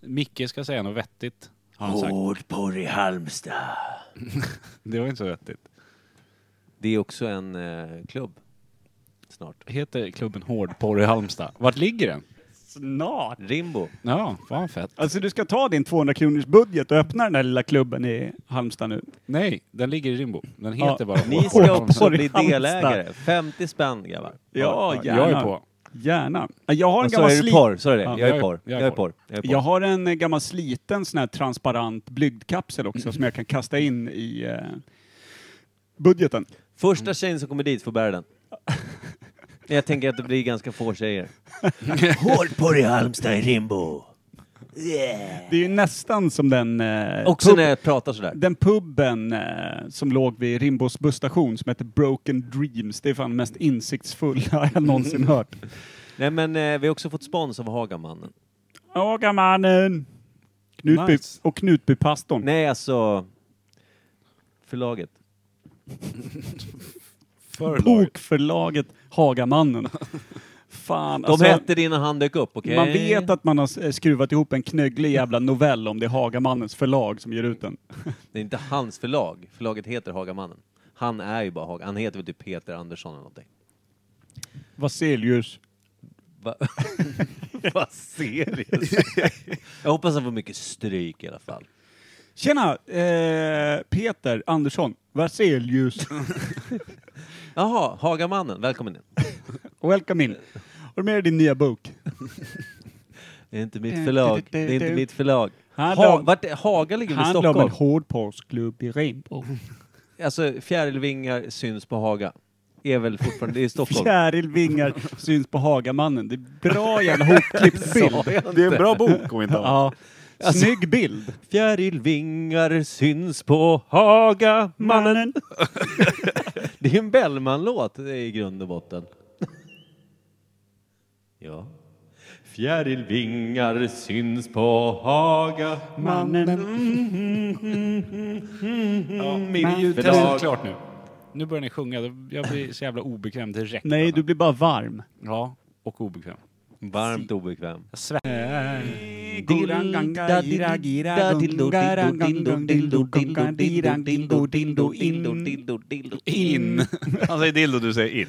Micke ska säga något vettigt. Har han sagt. Hårdporr i Halmstad. Det var inte så vettigt. Det är också en eh, klubb. Snart. Heter klubben Hårdporr i Halmstad? Vart ligger den? Snart. Rimbo. Ja, fan fett. Alltså du ska ta din 200 kronors budget och öppna den där lilla klubben i Halmstad nu. Nej, den ligger i Rimbo. Den Ja, heter bara Ni Hårdporr i ska Halmstad. också Hårdporr i bli Halmstad. delägare. 50 spänn grabbar. Ja, gärna. Jag är på. Gärna. Jag har en Och så gammal Alltså, är du slit... porr, så är det. Ja, Jag är porr. Jag är porr. Jag är Jag porr. har en eh, gammal sliten sån här transparent blygdkapsel också som jag kan kasta in i eh, budgeten. Första tjejen som kommer dit får bära den. Jag tänker att det blir ganska få tjejer. Hårdporr i Halmstad i Rimbo. Yeah. Det är ju nästan som den, eh, Också pub, när jag pratar sådär. den puben eh, som låg vid Rimbos busstation som heter Broken Dreams. Det är fan det mest insiktsfulla jag någonsin hört. Mm. Nej men eh, vi har också fått spons av Hagamannen. Hagamannen! Knutby Nice. och Knutbypastorn. Nej alltså... Förlaget. Förlag. Bokförlaget Hagamannen. Fan, De hette det innan han dök upp, okej? Alltså- Man vet att man har s- eh, skruvat ihop en knögglig jävla novell om det är Hagamannens förlag som ger ut den. Det är inte hans förlag. Förlaget heter Hagamannen. Han är ju bara Haga. Han heter väl typ Peter Andersson eller någonting. Vaselius. Va? Vad seriöst? jag hoppas han får mycket stryk i alla fall. Tjena! Eh, Peter Andersson. Vaselius. Jaha, Hagamannen. Välkommen in. Welcome in. Har du med dig din nya bok? Det är inte mitt förlag. Det är inte mitt förlag. Handlar Ha, om- vart, är- Haga ligger vid Handlar om en Stockholm. hårdporrsklubb i Rimbo. Alltså fjärilvingar syns på Haga. Är väl fortfarande, det är i Stockholm. Fjärilvingar syns på Hagamannen. Det är bra jävla hopklippt bild. Det är en bra bok om inte annat. Ja. Snygg bild. Alltså, Fjärilvingar syns på Haga. Mannen. Det är en Bellman-låt i grund och botten. Ja. Fjärilvingar syns på Haga. Mannen. Min ljudtest är klart nu. Nu börjar ni sjunga. Jag blir så jävla obekväm direkt. Nej, du blir bara varm. Ja, och obekväm. Varmt obekväm. Jag svettas. In. Han säger dildo, du säger in.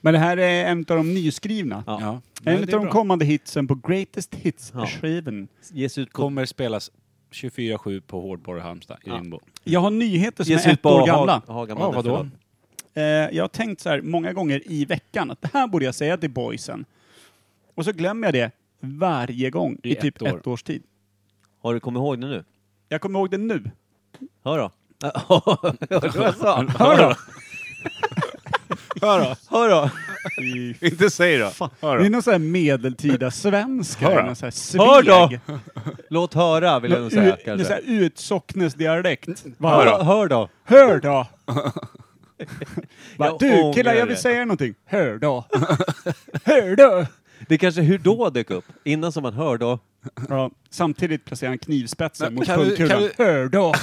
Men det här är en av de nyskrivna. Ja. En Men av det är de bra. kommande hitsen på Greatest Ja. Hits-skivan. Ges ut på, Kommer spelas 24-7 på Hårdborg i Halmstad i Rimbo. Jag har nyheter som ges är ut ett på år Haga, gamla. Hagamannen. Ja, vadå? förlag. Eh, jag har tänkt så här många gånger i veckan att det här borde jag säga till boysen. Och så glömmer jag det varje gång i, I ett typ år. ett års tid. Har du kommit ihåg det nu? Jag kommer ihåg det nu. Hör då. Hör du vad jag sa? Hör då! Hör då! Hör då. Inte säg då! Hör Det är då! någon sån här medeltida svenska. Hör då. någon sån här Hör sveg. då! Låt höra vill jag nog säga Ur- det är kanske. så här Utsocknes-dialekt. Hör Va? då. Hör då. Hör då! Va, Jag du killar, ångrar jag vill det. säga er någonting. Hör då! Hör då! Det är kanske hur då dök upp. Innan som man hör då. Ja, samtidigt placerar han knivspetsen Men mot kan vi- pungkulan. kan Hör då!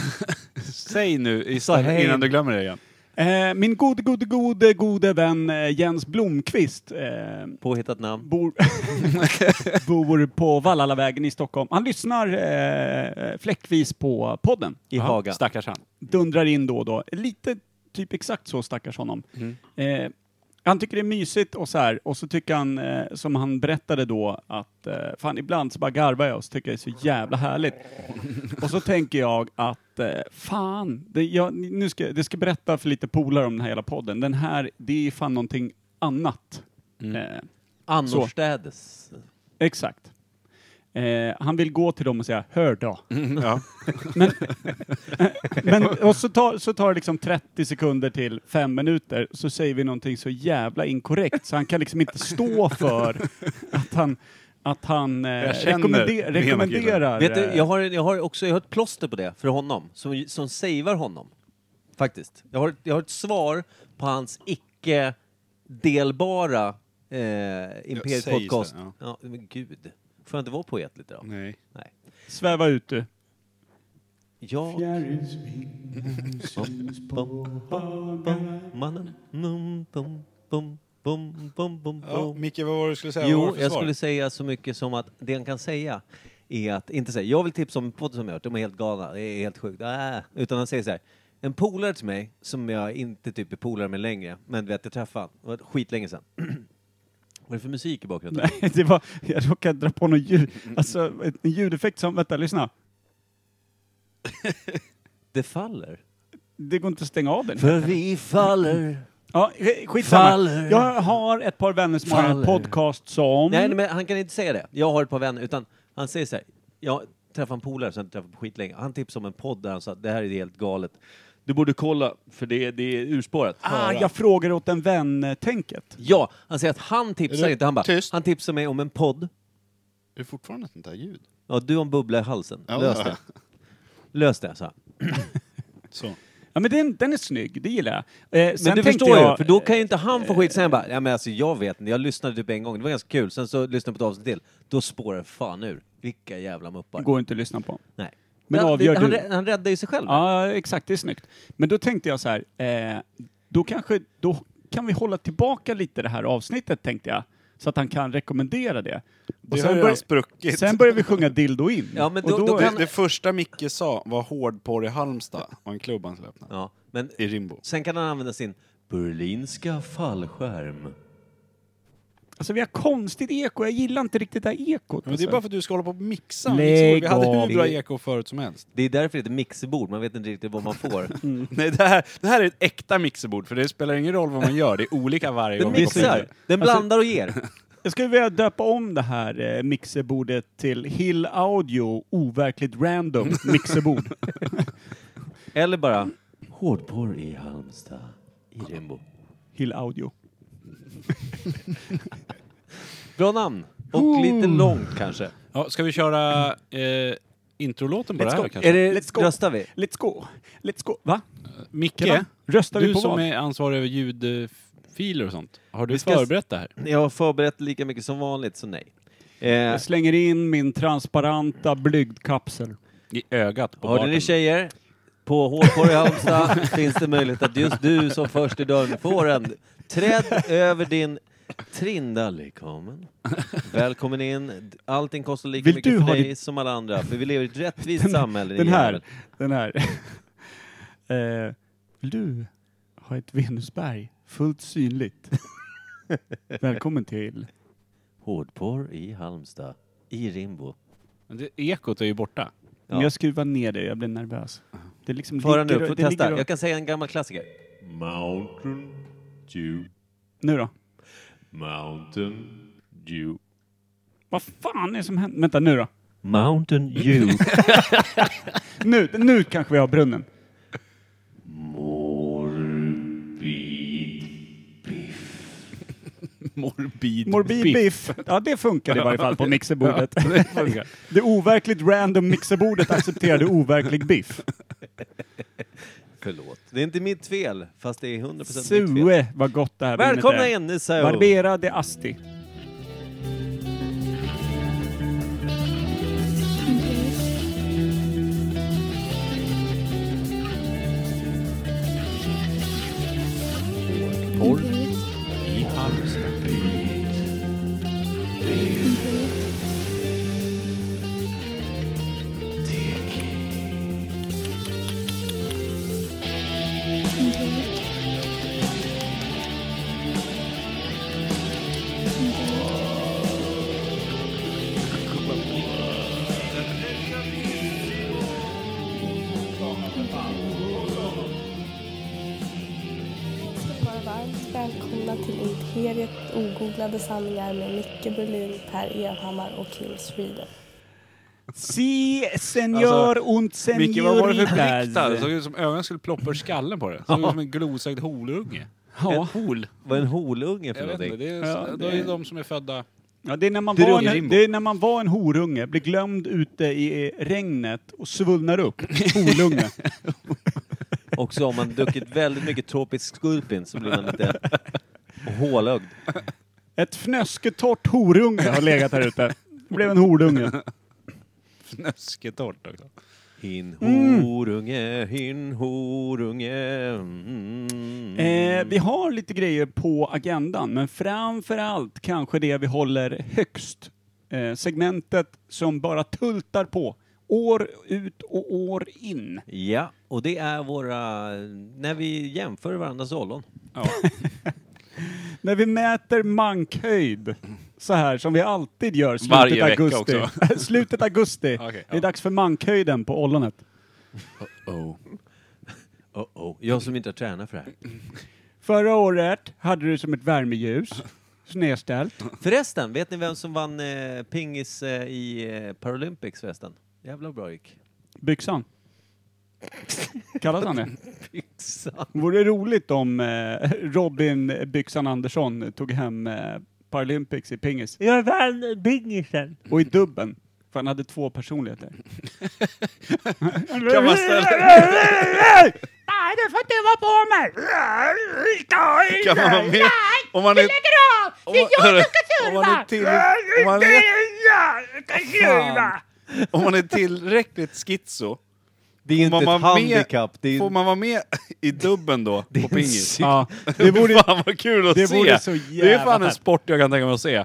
Säg nu i- Så hej. innan du glömmer det igen. Eh, min gode, gode, gode, gode vän eh, Jens Blomqvist eh, Påhittat namn. bor, bor på Vallalavägen i Stockholm. Han lyssnar eh, fläckvis på podden. I Haga. Stackars han. dundrar in då och då. Lite typ exakt så stackars honom. Mm. Eh, han tycker det är mysigt och så här, och så tycker han, eh, som han berättade då, att eh, fan ibland så bara garvar jag och så tycker jag det är så jävla härligt. och så tänker jag att eh, fan, det, jag, nu ska, det ska berätta för lite polare om den här hela podden. Den här, det är fan någonting annat. Mm. Eh, Annorstädes. exakt. Eh, han vill gå till dem och säga, hör då. Mm, eh, Ja. Men, och så tar, så tar det liksom 30 sekunder till fem minuter, så säger vi någonting så jävla inkorrekt så han kan liksom inte stå för att han, att han eh, Jag känner den rekommende, ena rekommenderar... Vet du, eh, jag har, jag har också jag har ett plåster på det för honom, som, som savear honom. Faktiskt. Jag har, jag har ett svar på hans icke-delbara eh, Imperiet sägs det, Podcast. ja. Ja. men gud. Får jag inte vara poet lite då? Nej. Nej. Sväva ut du. Jag... Bom, bom, bom, bom, mannen. Num, bom, bom, bom, bom, bom, Ja, bom. Micke, vad var det du skulle säga? Vad var Jo, det för jag svar? skulle säga så mycket som att det han kan säga är att inte säga jag vill tipsa om en podd som jag hört, de är helt galna, det är helt sjukt. Äh. Utan han säger så här, en polare till mig som jag inte typ är polare med längre, men du vet jag träffade han, det var skitlänge sedan. Mm, Vad är det för musik i bakgrunden? Nej, det var, jag råkade dra på någon ljud, alltså, en ljudeffekt som, vänta, lyssna. Det faller. Mm. Det går inte att stänga av den. För vi faller. Ja, sk- skitsamma. Faller. Jag har ett par vänner som har en Faller. podcast som... Nej, nej, men han kan inte säga det. Jag har ett par vänner, utan han säger så här. Jag träffade en polare som jag inte träffat på skitlänge. Han tipsade om en podd där han sa att det här är helt galet. Du borde kolla, för det, det är urspårat. ah, jag frågar åt en vän-tänket. Ja, han säger att han tipsar Är det inte. Han bara, tyst? han tipsar mig om en podd. Är det fortfarande ett sånt där ljud? Ja, du har en bubbla i halsen. Ja. Lös det. Lös det, så. Så. Ja, men den, den är snygg, det gillar jag. Eh, sen Men du tänkte förstår jag, ju, för då kan ju inte han få skit. Sen bara, ja men alltså jag vet inte, jag lyssnade typ en gång, det var ganska kul. Sen så lyssnade jag på ett avsnitt till. Då spårar det fan ur. Vilka jävla muppar. går inte att lyssna på. Nej. Men Ja, det- avgör han, du? rä- han räddar ju sig själv. Ja, exakt, det är snyggt. Men då tänkte jag så här, eh, då kanske, då kan vi hålla tillbaka lite det här avsnittet tänkte jag. Så att han kan rekommendera det. Och Det har ju bör- redan spruckit. sen börjar vi sjunga Dildo in. Ja, men Och då- då kan- Det, det första Micke sa var hårdporr i Halmstad och en klubb han skulle öppna. Ja, men I Rimbo. sen kan han använda sin berlinska fallskärm. Alltså vi har konstigt eko, jag gillar inte riktigt det här ekot. Men det är alltså. bara för att du ska hålla på och mixa. Liksom, Lägg Vi hade av. hur bra eko förut som helst. Det är därför det heter mixerbord, man vet inte riktigt vad man får. Mm. Nej, det här, det här är ett äkta mixerbord, för det spelar ingen roll vad man gör, det är olika varje Den gång. man kommer mixar, hit. den blandar och ger. Jag skulle vilja döpa om det här eh, mixerbordet till Hill Audio overkligt random mixerbord. Eller bara hårdporr i Halmstad, i Rimbo. Hill Audio. Bra namn! Och lite långt kanske. Ja, ska vi köra eh, introlåten på Let's det go. här kanske? Är det, Let's go. Röstar vi? Let's go! Let's go! Va? Micke, Kan man- Röstar vi du på som vad? är ansvarig över ljudfiler och sånt, har du Vi ska- förberett det här? Jag har förberett lika mycket som vanligt, så nej. Eh, Jag slänger in min transparenta blygdkapsel. I ögat på hörde barten? ni tjejer? På hårdporr i Halmstad finns det möjlighet att just du som först i dörren får en. Träd över din Trindalikomen. Välkommen in. Allting kostar lika Vill du mycket för ha dig ditt- som alla andra, för vi lever i ett rättvist samhälle. Den ni här. jävel. Den här. eh, vill du ha ett Venusberg fullt synligt? Välkommen till... Hårdporr i Halmstad, i Rimbo. Men det- Ekot är ju borta. Om jag skruvar ner det, jag blir nervös. Det liksom Föra ligger- nu, får det ligger testa. och- Jag kan säga en gammal klassiker. Mountain Dew, Nu då? Mountain Dew. Vad fan är det som händer? Vänta, nu då? Mountain Dew. Nu, nu kanske vi har brunnen. Morbid, Morbid biff. Ja, det funkar i varje fall på mixerbordet. funkar. det overkligt random mixerbordet accepterade overklig biff. Förlåt. Det är inte mitt fel, fast det är Alltså, 100% mitt fel. Sue, vad gott det här vinet Välkomna är. in, Nissao. Barbera de Asti. ska vara varmt välkomna till Imperiet ogooglade sanningar med Micke Berlin, Per Evhammar och Kim Sweden. Si, senor und Alltså, Micke, vad var det för blick där? Det senoritas. såg ut som ögonen skulle ploppa ur skallen på det. Det såg ut som en glosögd holunge. Ja. En hol. Vad är en holunge för Jag vet inte, någonting? det är, Ja, det är ju de som är födda... Ja, det, är när man Det är var Roger en, Rimbo. det är när man var en horunge, blir glömd ute i eh, regnet och svullnar upp. Horunge. Också om man druckit väldigt mycket tropisk skulpin så blir man lite hålögd. Ett fnösketort horunge har legat här ute. Det blev en horunge. Fnösketort också. Hin Mm. horunge, hin horunge. Mm. Eh, vi har lite grejer på agendan, men framför allt kanske det vi håller högst eh, segmentet som bara tultar på år ut och år in. Ja, och det är våra... När vi jämför varandras ollon. När vi mäter mankhöjd så här som vi alltid gör slutet Varje vecka augusti. också. slutet augusti. Okej, Det är ja. dags för mankhöjden på ollonet. Oh. Oh, oh. Jag som inte har tränat för det här. Förra året hade du som ett värmeljus. Snedställt. Förresten, vet ni vem som vann eh, pingis eh, i eh, Paralympics förresten? Jävla bra gick. Byxan. Kallas han det? Yxan. Vore roligt om eh, Robin Byxan Andersson tog hem eh, Paralympics i pingis. Jag vann bingisen. Och i dubben. För han hade två personligheter. Kan man ställa, Nej, du får inte vara på mig! kan man vara med? Om man är... av! Om man, om man är till, om man är, jag ska tjuva. om man är tillräckligt schizo, Det är ju inte man ett vara med- handikapp. Det är, får man vara med i dubben då, på pingis? Ja. Ja, det vore fan vad kul att det se! vore så det är jävla fan en härligt. sport jag kan tänka mig att se.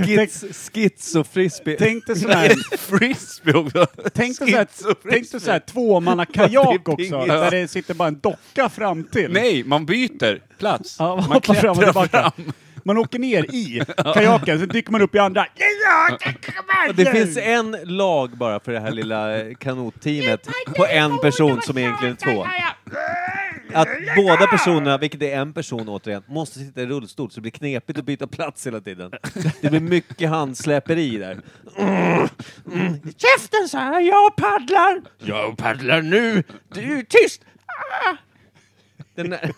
Skits, skits och frisbee. Tänk dig sån här, Frisbee också! tänk dig så här, Skits och tänk dig så här tvåmannakajak också, pingis. där det sitter bara en docka fram till. Nej, man byter plats. Ja, man hoppar fram och tillbaka. Man åker ner i kajaken, sen dyker man upp i andra. Det finns en lag bara för det här lilla eh, kanotteamet på en person som är egentligen två. Att båda personerna, vilket är en person återigen, måste sitta i rullstol så det blir knepigt att byta plats hela tiden. Det blir mycket handsläperi där. Mm, mm. Käften så här, jag paddlar! Jag paddlar nu! Du, tyst! Ah! Den där,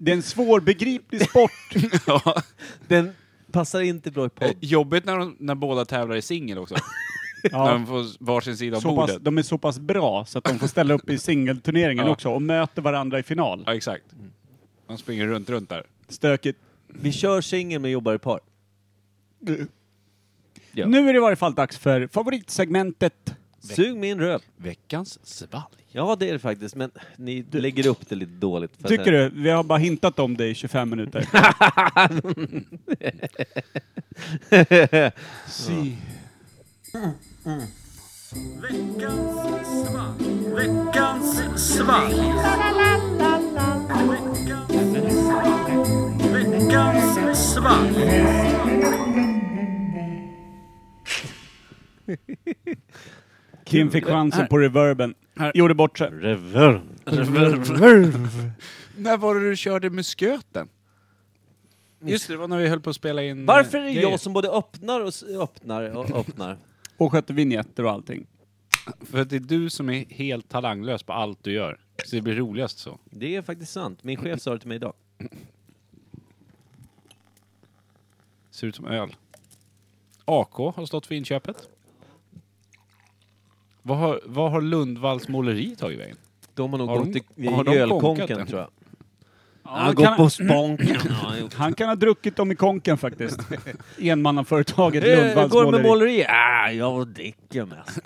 Det är en svårbegriplig sport. Ja. den passar inte bra i podd. Eh, Jobbigt när, de, när båda tävlar i singel också. När Ja. de får varsin sida av Så pass, bordet. de är så pass bra så att de får ställa upp i singelturneringen Ja. också och möter varandra i final. Ja, exakt. De springer runt, runt där. Stökigt. Vi kör singel men jobbar i par. Ja. Nu är det i varje fall dags för favoritsegmentet. Sug min röv. Veckans svalg. Ja, det är det faktiskt, men ni lägger upp det lite dåligt. för att- Tycker du? Vi har bara hintat om det i 25 minuter. Si. Kim fick chansen på reverben. Här. Gjorde bort sig. När var det du körde musköten? Just det, det var när vi höll på att spela in... eh, Varför är det grejer. jag som både öppnar och s- öppnar och öppnar? Och skötte vignetter och allting. För att det är du som är helt talanglös på allt du gör. Så det blir roligast så. Det är faktiskt sant. Min chef sa det till mig idag. Ser ut som öl. AK har stått för inköpet. Vad har, vad har Lundvalls måleri tagit vägen? De har nog Har de- gått i, i har de konkat ölkonken, den? tror jag. Ja, Han han, går kan, på sponken. han kan ha druckit dem i konken faktiskt. Enmannaföretaget Hur Lundvalls Eh, går det med måleri. måleri? Ah, jag dricker mest.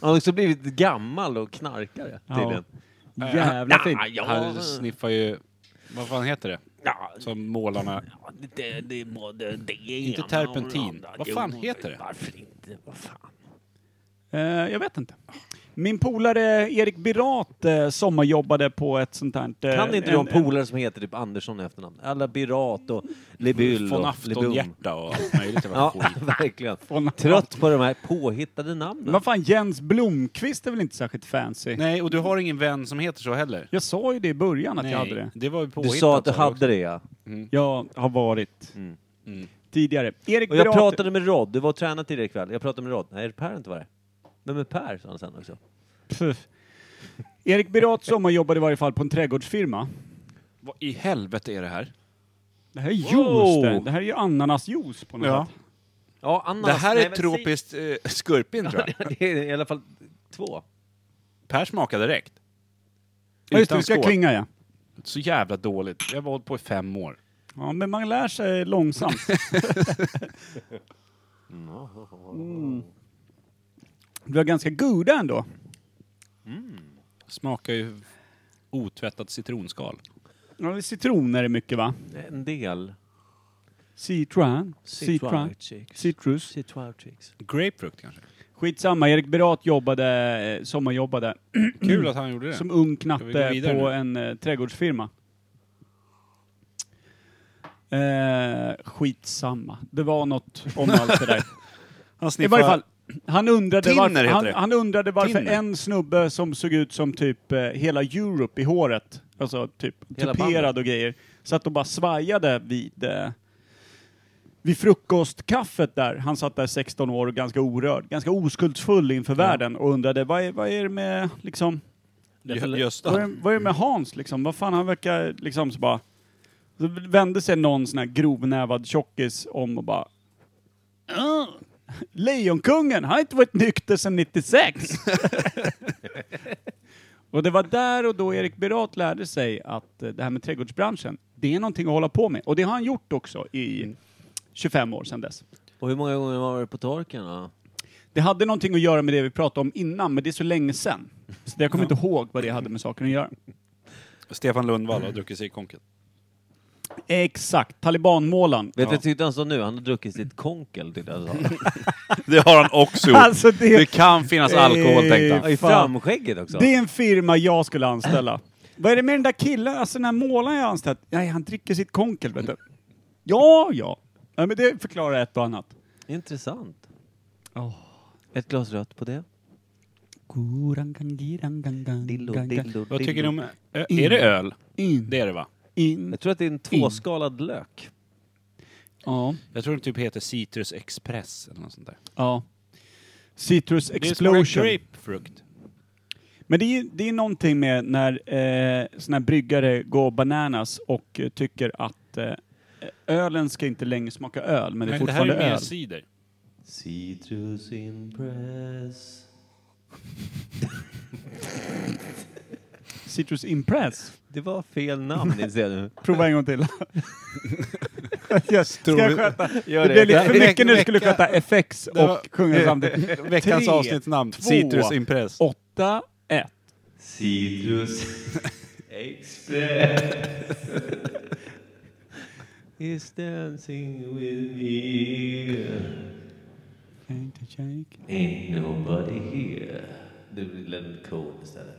Han har också blivit gammal och knarkare, Ja. tydligen. Jävla fint. Ah, jag- Han sniffar ju... Vad fan heter det? Ja, Som målarna... det, det, både det Inte ena terpentin. och det andra. Vad fan Jo, heter det? Varför inte? Vad fan? Eh, jag vet inte. Min polare Erik Birat eh, sommarjobbade på ett sånt här... eh, Kan inte du en- ha en polare som heter typ Andersson i efternamn? Alla Birat och Lebyl Von och Lebum. Afton-hjärta och allt möjligt. jävla Ja, skit. verkligen. Von- Trött på de här påhittade namnen. Vad fan, Jens Blomqvist är väl inte särskilt fancy? Nej, och du har ingen vän som heter så heller? Jag sa ju det i början att jag hade det. det var ju Du påhittat. alltså. sa att du så också. hade det, ja. Jag har varit Mm. Mm. tidigare. Erik Och jag Birat... pratade med Rod, du var och tränade tidigare ikväll. Jag pratade med Rod. Nej, är det Per inte var det? Men med Per sa han sen också. Pff. Erik Birat sommarjobbade i varje fall på en trädgårdsfirma. Vad i helvete är det här? Det här är juice Wow. det. Det här är ju ananasjuice på något Ja. sätt. Ja, Anna. Det här är tropiskt eh, skurpin tror jag. det är i alla fall två. Per smakade direkt. Ja, just det, Utan det ska skål. klinga ja. Så jävla dåligt. Jag har hållit på i fem år. Ja, men man lär sig långsamt. Mm. Du var ganska goda ändå. Smakar ju otvättat citronskal. Ja, det är citroner är mycket va? En del. Citron. Citron. Citrus. Citroën chicks. Grapefruit kanske? Skitsamma, Erik Berat jobbade, eh, sommarjobbade, Kul att han gjorde det. som ung Ska vi knatte gå på vidare nu? en eh, trädgårdsfirma. Eh, skitsamma, det var något om allt det där. Han I varje fall, han undrade, Tinner varför, heter han, det. han undrade varför Tinner. en snubbe som såg ut som typ eh, hela Europe i håret, alltså typ Hela tuperad bandet. och grejer, satt och bara svajade vid, eh, vid frukostkaffet där. Han satt där 16 år och ganska orörd, ganska oskuldsfull inför världen och undrade vad är, vad är det med liksom, Gö- vad är, Gösta. vad är det med Hans liksom? Vad fan, han verkar liksom så bara... Så vände sig någon sån här grovnävad tjockis om och bara... "Åh, Lejonkungen, han har inte varit nykter sedan 96! och det var där och då Erik Berat lärde sig att eh, det här med trädgårdsbranschen, det är någonting att hålla på med. Och det har han gjort också i 25 år sedan dess. Och hur många gånger var det på torken då? Det hade någonting att göra med det vi pratade om innan, men det är så länge sedan. Så jag kommer inte ihåg vad det hade med saken att göra. Stefan Lundvall har druckit sig i konken. Exakt, talibanmålaren. Vet du vad Tytte han sa nu? Han har druckit sitt konkel, tyckte han sa. Det har han också gjort. Alltså det- det kan finnas alkohol tänkte han. I framskägget också. Det är en firma jag skulle anställa. Vad är det med den där killen, alltså den här målaren jag anställt? Nej, han dricker sitt konkel, vet du. Ja, ja. ja men det förklarar ett och annat. Intressant. Oh. Ett glas rött på det. Dillo, dillo, Vad dillo. tycker ni om... Mm. Ö, eh, är det öl? In. Det är det va? In. Jag tror att det är en tvåskalad lök. Ja. Jag tror den typ heter Citrus Express eller något sånt där. ja. Citrus Det smakar explosion. grapefrukt. Men det är, ju- det är någonting med när eh, såna här bryggare går bananas och eh, tycker att eh, ölen ska inte längre smaka öl, men det är Nej, det här fortfarande är mer öl. cider. Citrus impress. Citrus Impress. Det var fel namn inser jag nu. Prova en gång till. jag, ska jag sköta? Det Gör blev lite för Det här- mycket när du skulle vecka- sköta FX och Det var- sjunga samtidigt. Veckans Tre, avsnittsnamn. två, Citrus Impress. Åtta, ett. Citrus express. Is dancing with me. Ain't nobody here. Du blir Leonard Cohen istället.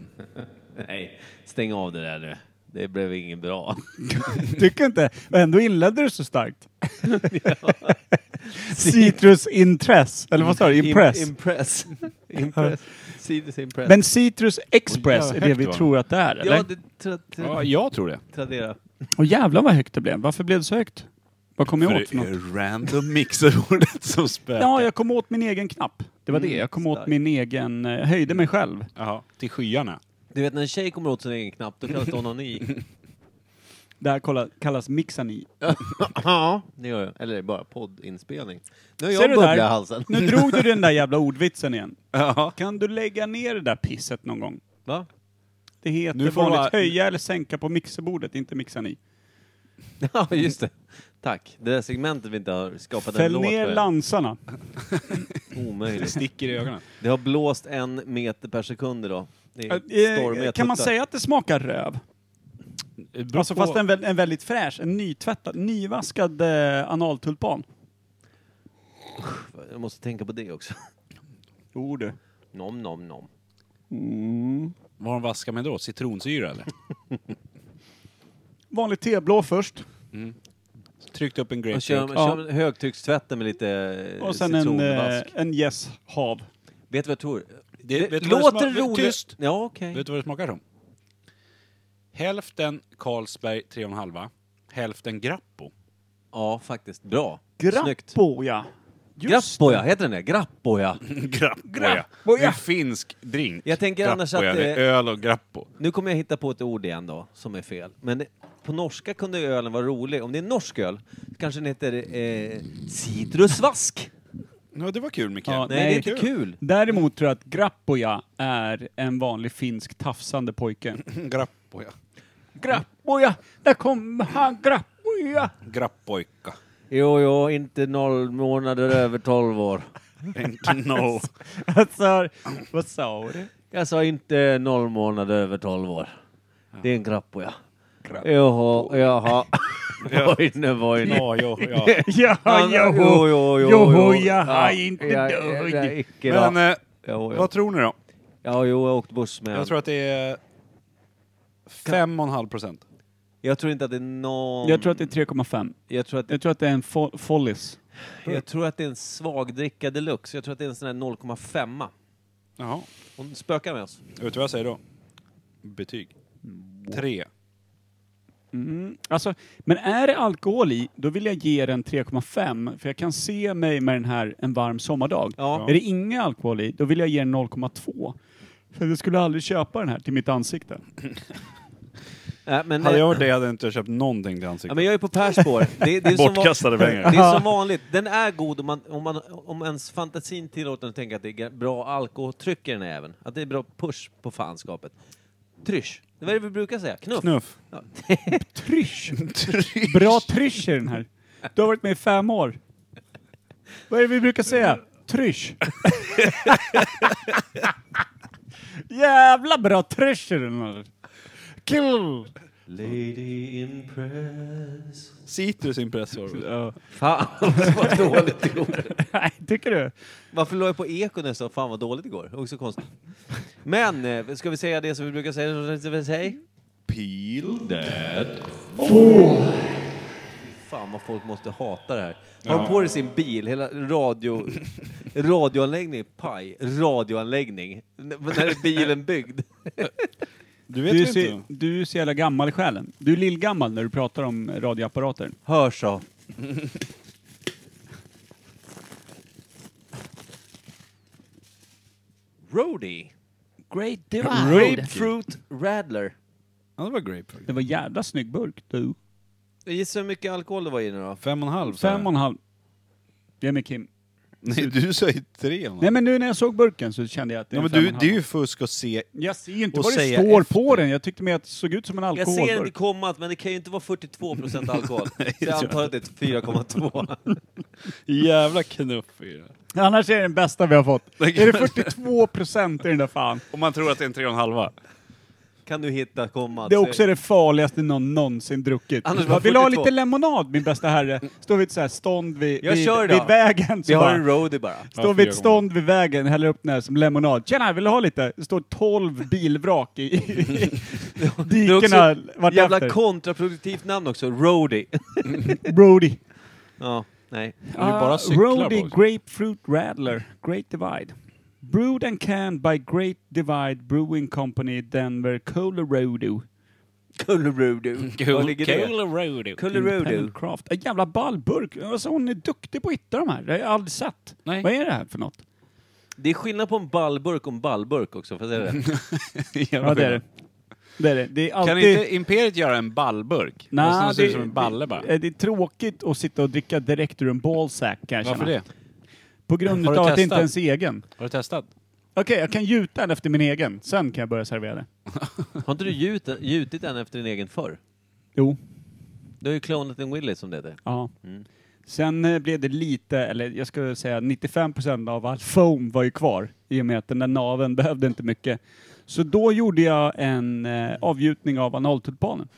Nej, stäng av det där nu. Det blev inget bra. Tycker inte? Men ändå inledde du så starkt. Citrus Intress, eller vad sa du? Impress. Impress. Impress. Citrus impress. Men Citrus Oj, Express är ja, det högt vi var det. tror att det är, ja, eller? det tra, tra, Ja, jag tror det. Tradera. Och jävlar vad högt det blev. Varför blev det så högt? Vad kom jag åt för något? är random mixerordet som spökar. Ja, jag kom åt min egen knapp. Det var Mm, det. Jag kom åt starkt. min egen... eh, Höjde mig själv. Jaha, till skyarna. Du vet när en tjej kommer åt sin egen knapp, då kallas det onani. Det här kolla- kallas mixani. ja, det gör jag. Eller det är bara poddinspelning. Nu har Ser jag du bubbla i där? halsen. Nu drog du den där jävla ordvitsen igen. Ja. Kan du lägga ner det där pisset någon gång? Va? Det heter Nu får vanligt man- höja eller sänka på mixerbordet, inte mixa i. Ja, just det. Tack. Det där segmentet vi inte har skapat en Fäll låt ner för än. lansarna. Det Omöjligt. sticker i ögonen. Det har blåst en meter per sekund idag. Det är stormiga Eh, Kan man tuttar. säga att det smakar röv? Alltså fast en, vä- en väldigt fräsch, en nytvättad, nyvaskad eh, analtulpan. Jag måste tänka på det också. Jo du. Nom, nom, nom. Vad har de vaskat med då? Citronsyra eller? Vanlig teblå först. Tryckt upp en Och grapefrukt. kör, Ja. kör högtryckstvätten med lite Och sen en, eh, citronvask. en yes hav. Vet du vad jag tror? Det- vet du vad det låter smak- roligt. Tyst! Ja, okej. Vet du vad det smakar som? Hälften Carlsberg 3,5. Hälften Grappo. Ja, faktiskt. Bra. Snyggt. Grappo ja. Just Grappoja, heter den det? Grappoja. Grappo, Grappo, ja. En finsk drink. Jag tänker annars Grappo, att, ja. Det är eh, öl och Grappo. Nu kommer jag hitta på ett ord igen då, som är fel. Men på norska kunde ölen vara rolig. Om det är norsk öl, kanske den heter eh, citrusvask. Ja, det var kul Micke. Ja, Nej, det är inte kul. Däremot tror jag att grappoja är en vanlig finsk tafsande pojke. Grappo, ja. Grappoja, där kom han, grappoja. Grappojka. Jo, jo, inte noll månader över tolv år. Inte no. Alltså, vad sa du? Jag sa inte noll månader över tolv år. Det är en grappoja. Jaha, jaha. Vojne, vojne. Ja, ja, ja. Ja, joho, joho, jaha, inte döjd. Icke då. Men eh, Jo, jo. vad tror ni då? Ja, jo, jag har åkt buss med Jag tror att det är 5,5 procent. Jag tror inte att det är någon... Jag tror att det är 3,5. jag tror att, Jag tror att det är en fo- follis. jag tror att det är en svagdricka deluxe. Jag tror att det är en sån här 0,5. Jaha. Hon spökar med oss. Vet du vad jag säger då? Betyg. 3. Alltså, men är det alkohol i, då vill jag ge den 3,5. För jag kan se mig med den här en varm sommardag. Ja. Är det ingen alkohol i, då vill jag ge den 0,2. För jag skulle aldrig köpa den här till mitt ansikte. Äh, men, Hade jag eh, varit det hade jag inte köpt någonting till ja, ansiktet. men jag är på Pers spår. Det, det är som va- Bortkastade pengar. Det är som vanligt. Den är god om, man, om, man, om ens fantasin tillåter en att tänka att det är bra alkoholtryck i den här även. Att det är bra push på fanskapet. Trysch. Det var det vi brukar säga. Knuff. Knuff. Trysch! Bra trysch i den här. Du har varit med i fem år. Vad är det vi brukar säga? Trysch! Jävla bra trysch i den här. Kul! Lady Impress. Citrus impressor. Ja. Fan vad dåligt det går. Nej, tycker du? Varför la jag på eko när jag sa fan vad dåligt det går? Också konstigt. Men, eh, ska vi säga det som vi brukar säga? som vi säger? Peel that. Fan vad folk måste hata det här. Har på dig sin bil, hela radio, radioanläggning, paj, radioanläggning. N- När är bilen byggd? Du Du är, vet ju så, inte. du är så jävla gammal i själen. Du är lillgammal när du pratar om eh, radioapparater. Hörs av. Roadie. Great Grapefruit Radler. Ja, det var grape. faktiskt. Det var jävla snygg burk, du. Gissa hur mycket alkohol det var i den då? Fem och en halv. sa jag. Fem och en halv. Det är med Kim. Nej, du sa ju tre. Nej Nej, men nu när jag såg burken så kände jag att det är men en du, fem och det en är halv. ju fusk att se. Jag ser ju inte och vad det säga står efter. på den. Jag tyckte mer att det såg ut som en Jag ser alkoholburk. inte kommat, men det kan ju inte vara 42 procent alkohol. Så tror jag jag antar att det är 4,2. Jävla knuff i det. Annars är det den bästa vi har fått. Det Är kan- det 42 procent i den där fan? Om man tror att det är en tre och en halva. Kan du hitta kommat? Det är också det farligaste någon någonsin druckit. Anders, Jag vad vill ha 42? lite lemonad min bästa herre. Står vid ett så här stånd vid, Jag vid, kör idag. vid vägen. Så Vi har bara, en roadie bara. Står Ja, vid ett fyra stånd vid vägen, häller upp den här som lemonad. Tjena, vill du ha lite? Det står 12 bilvrak i, i Det är dikena också ett jävla vartefter. kontraproduktivt namn också, roadie. Brody. ja, nej. Det är bara Ah, cyklar Rhodey på oss. Grapefruit Radler, Great Divide. Brewed and canned by Great Divide Brewing Company, Denver, Colorado. Kullerodo. Var ligger det? Colorado. Kullerodo. Independent Craft. En jävla ballburk. Alltså, hon är duktig på att hitta de här. Det har jag aldrig sett. Nej. Vad är det här för något? Det är skillnad på en ballburk och en ballburk också, får jag säga det? Ja, det är det. Det är det. Det är alltid... Kan inte Imperiet göra en ballburk? Nej, Alltså, den ser ut som en balle bara. Det, det är tråkigt att sitta och dricka direkt ur en ballsack kan jag Varför känna. det? På grund Har av du att det inte är ens testat? egen. Har du testat? Okej, jag kan gjuta den efter min egen. Sen kan jag börja servera det. Har inte du gjutit, gjutit den efter din egen förr? Jo. Du har ju klonat en Willy som det heter. Ja. Mm. Sen eh, blev det lite, eller jag skulle säga 95% av all foam var ju kvar i och med att den där naven behövde inte mycket. Så då gjorde jag en eh, avgjutning av analtulpanen.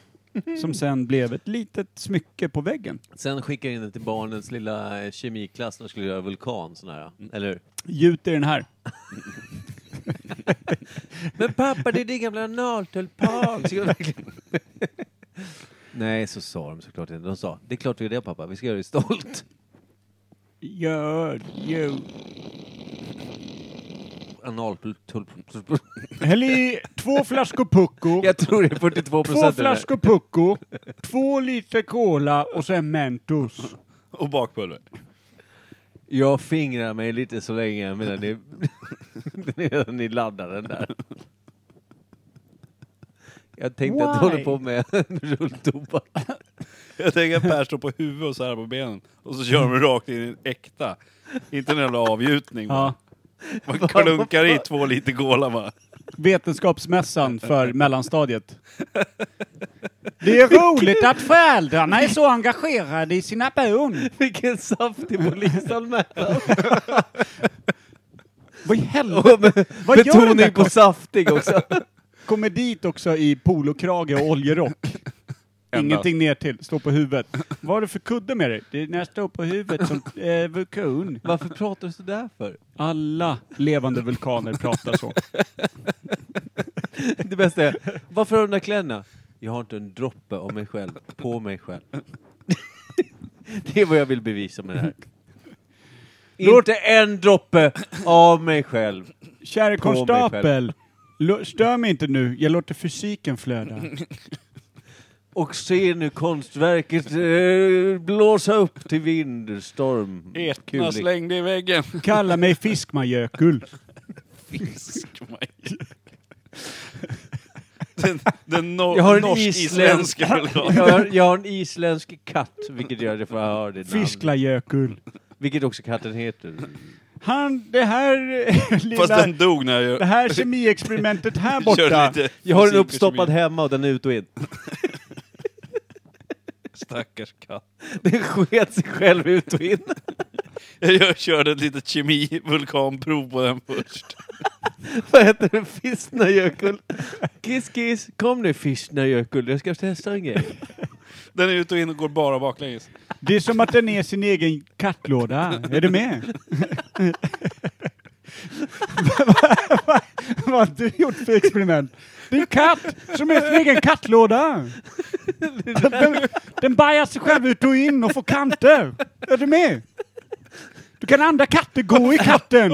Som sen blev ett litet smycke på väggen. Sen skickar jag in den till barnens lilla eh, kemiklass när de skulle göra vulkan, sån här. Eller hur? Gjut i den här. Men pappa, det är din gamla naltulpan! Ska jag verkligen- Nej, så sa de såklart inte. De sa, det är klart vi gör det pappa, vi ska göra dig stolt. Gör ju. Analtulpan. Häll i två flaskor Pucko, Jag tror det är 42 två procent. flaskor Pucko, två liter Cola och sen Mentos. Och bakpulver. Jag fingrar mig lite så länge medan ni, medan ni laddar den där. Jag tänkte att du Why? håller på med rulltobak. Jag tänker att Per står på huvudet och så här på benen. Och så kör de rakt in i en äkta. Inte en jävla avgjutning. Ja. bara. Man klunkar i två liter cola bara. Vetenskapsmässan för mellanstadiet. Det är roligt att föräldrarna är så engagerade i sina barn. Vilken saftig polisanmälan! Vad i helvete? Vad gör den där Betoning på på... saftig också. Kommer dit också i polokrage och oljerock. Ingenting ner till. stå på huvudet. Vad har du för kudde med dig? Det är när jag står på huvudet som eh, vulkan. Varför pratar du sådär för? Alla levande vulkaner pratar så. Det bästa är, varför har du de där kläderna? Jag har inte en droppe av mig själv på mig själv. Det är vad jag vill bevisa med det här. Inte en droppe av mig själv. Käre På mig konstapel, lo- stör mig inte nu. Jag låter fysiken flöda. Och se nu konstverket eh, blåsa upp till vind, storm, Etna kuling. slängde i väggen. Kalla mig fiskmajökull. Fiskmaj. Den, den no- Jag har en norsk-isländska isländsk- vulkanen. Jag har, jag har en isländsk katt, vilket gör att jag får höra det namnet. Fisklajökull. Vilket också katten heter. Han, det här eh, Fast lilla... den dog när jag Det här kemiexperimentet här körde borta. lite Jag har den fysik- uppstoppad hemma och den är ut och in. Stackars katt. Den sket sig själv ut och in. Jag körde ett litet kemi-vulkanprov på den först. Vad heter det? Fisknöjökull? Kiss kiss, kom nu fisknöjökull, jag ska testa en grej. Den är ut och in och går bara baklänges. Det är som att den är sin egen kattlåda. Är du med? Vad- vad- Vad har du gjort för experiment? Det är en katt som är sin egen kattlåda. Den, den bajar sig själv ut och in och får kanter. Är du med? Du kan andra katter gå i katten.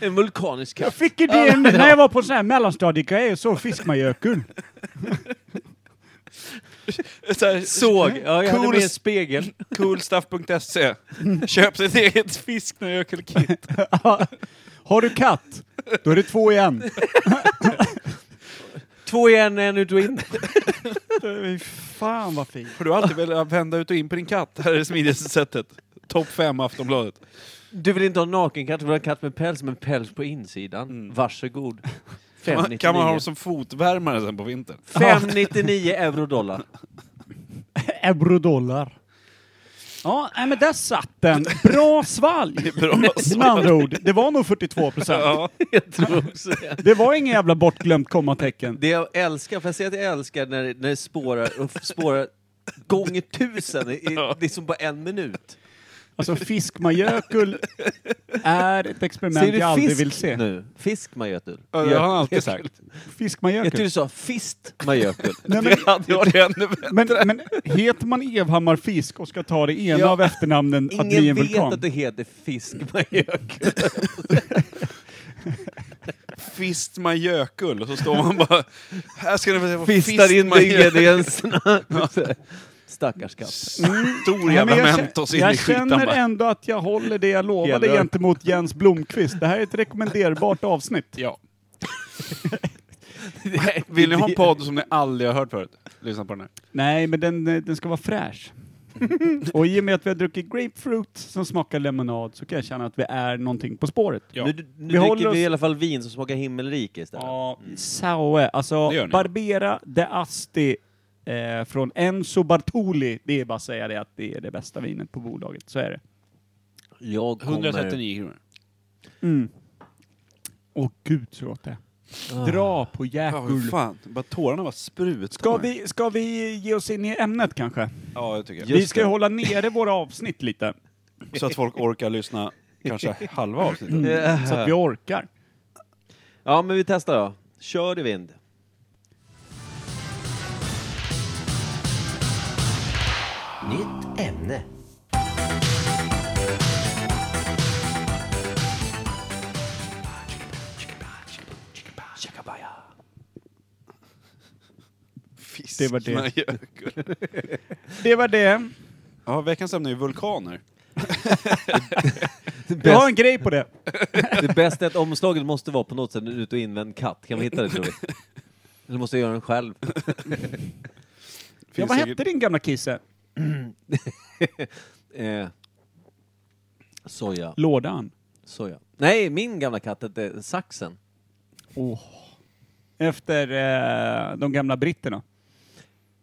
En vulkanisk Jag katt. fick idén när jag var på sån här mellanstadiegrej och såg Fiskmajökull. Så här, Såg! Ja, jag hade Cool- med en spegel. Coolstuff.se. Köp sitt eget fisknöjökullkit. Har du katt, då är det två igen. Två i en, en ut och in. Fan vad fint. Har du alltid velat vända ut och in på din katt? Här är det smidigaste sättet. Topp 5 Aftonbladet. Du vill inte ha en nakenkatt, du vill ha en katt med päls, men päls på insidan. Varsågod. Mm. Kan man- Kan man ha dem 599. som fotvärmare sen på vintern? 599 euro dollar. Eurodollar. Ja, nej, men där satt den. Bra svalg. Bra. Med andra ord, det var nog 42 procent. Ja. Jag tror också det. Det var inget jävla bortglömt kommatecken. Det jag älskar, för jag säger att jag älskar när, när det spårar, och spårar gånger tusen, i, i, liksom på en minut. Alltså fiskmajökull är ett Säger experiment jag du aldrig fisk vill se. nu? Fisk majökull? Ja, det har han alltid sagt. Jag tyckte Fiskmajökull. du sa fist majökull. Nej, men, Det hade varit ännu bättre. men, men heter man Evhammar Fisk och ska ta det ena Ja. av efternamnen att bli Ingen en vet vulkan? att det heter fisk majökull. Fist med gökull och så står man bara... Här ska ni få se vad Fistar in med gökull- ingredienserna. Stackars katt. Stor Ja, jävla men jag Mentos kä- in i jag skitan känner bara. ändå att jag håller det jag lovade Jävlar. gentemot Jens Blomqvist. Det här är ett rekommenderbart avsnitt. Ja. Vill ni ha en podd som ni aldrig har hört förut? Lyssna på den här. Nej, men den, eh, den ska vara fräsch. och i och med att vi har druckit grapefruit som smakar lemonad så kan jag känna att vi är någonting på spåret. Ja. Nu, nu Vi håller dricker oss- vi i alla fall vin som smakar himmelrike istället. Ja, Saue, alltså Mm. Det gör ni. Barbera de Asti eh, från Enzo Bartoli. Det är bara att säga det att det är det bästa vinet på bolaget, så är det. Jag kommer... 139 kronor. Åh gud så gott det är. Dra på Ja, hur jäkul. fan. Bara tårarna bara sprutade. Ska vi, ska vi ge oss in i ämnet kanske? Ja, jag tycker vi Just ska ju det. hålla nere våra avsnitt lite, jag. Så att folk orkar lyssna kanske halva avsnittet. Mm. så att vi orkar. Ja, men vi testar då. Kör i vind. Nytt ämne. Fisk Det var det. med gökull. Det var det. Ja, veckans ämne är ju vulkaner. Jag har Bäst, en grej på det. det bästa är att omslaget måste vara på något sätt en ut och invänd katt. Kan vi hitta det tror vi? Eller måste jag göra den själv? Ja, Finns vad säkert- hette din gamla kisse? Eh, soja. Lådan. Soja. Nej, min gamla katt hette Saxen. Efter eh, de gamla britterna.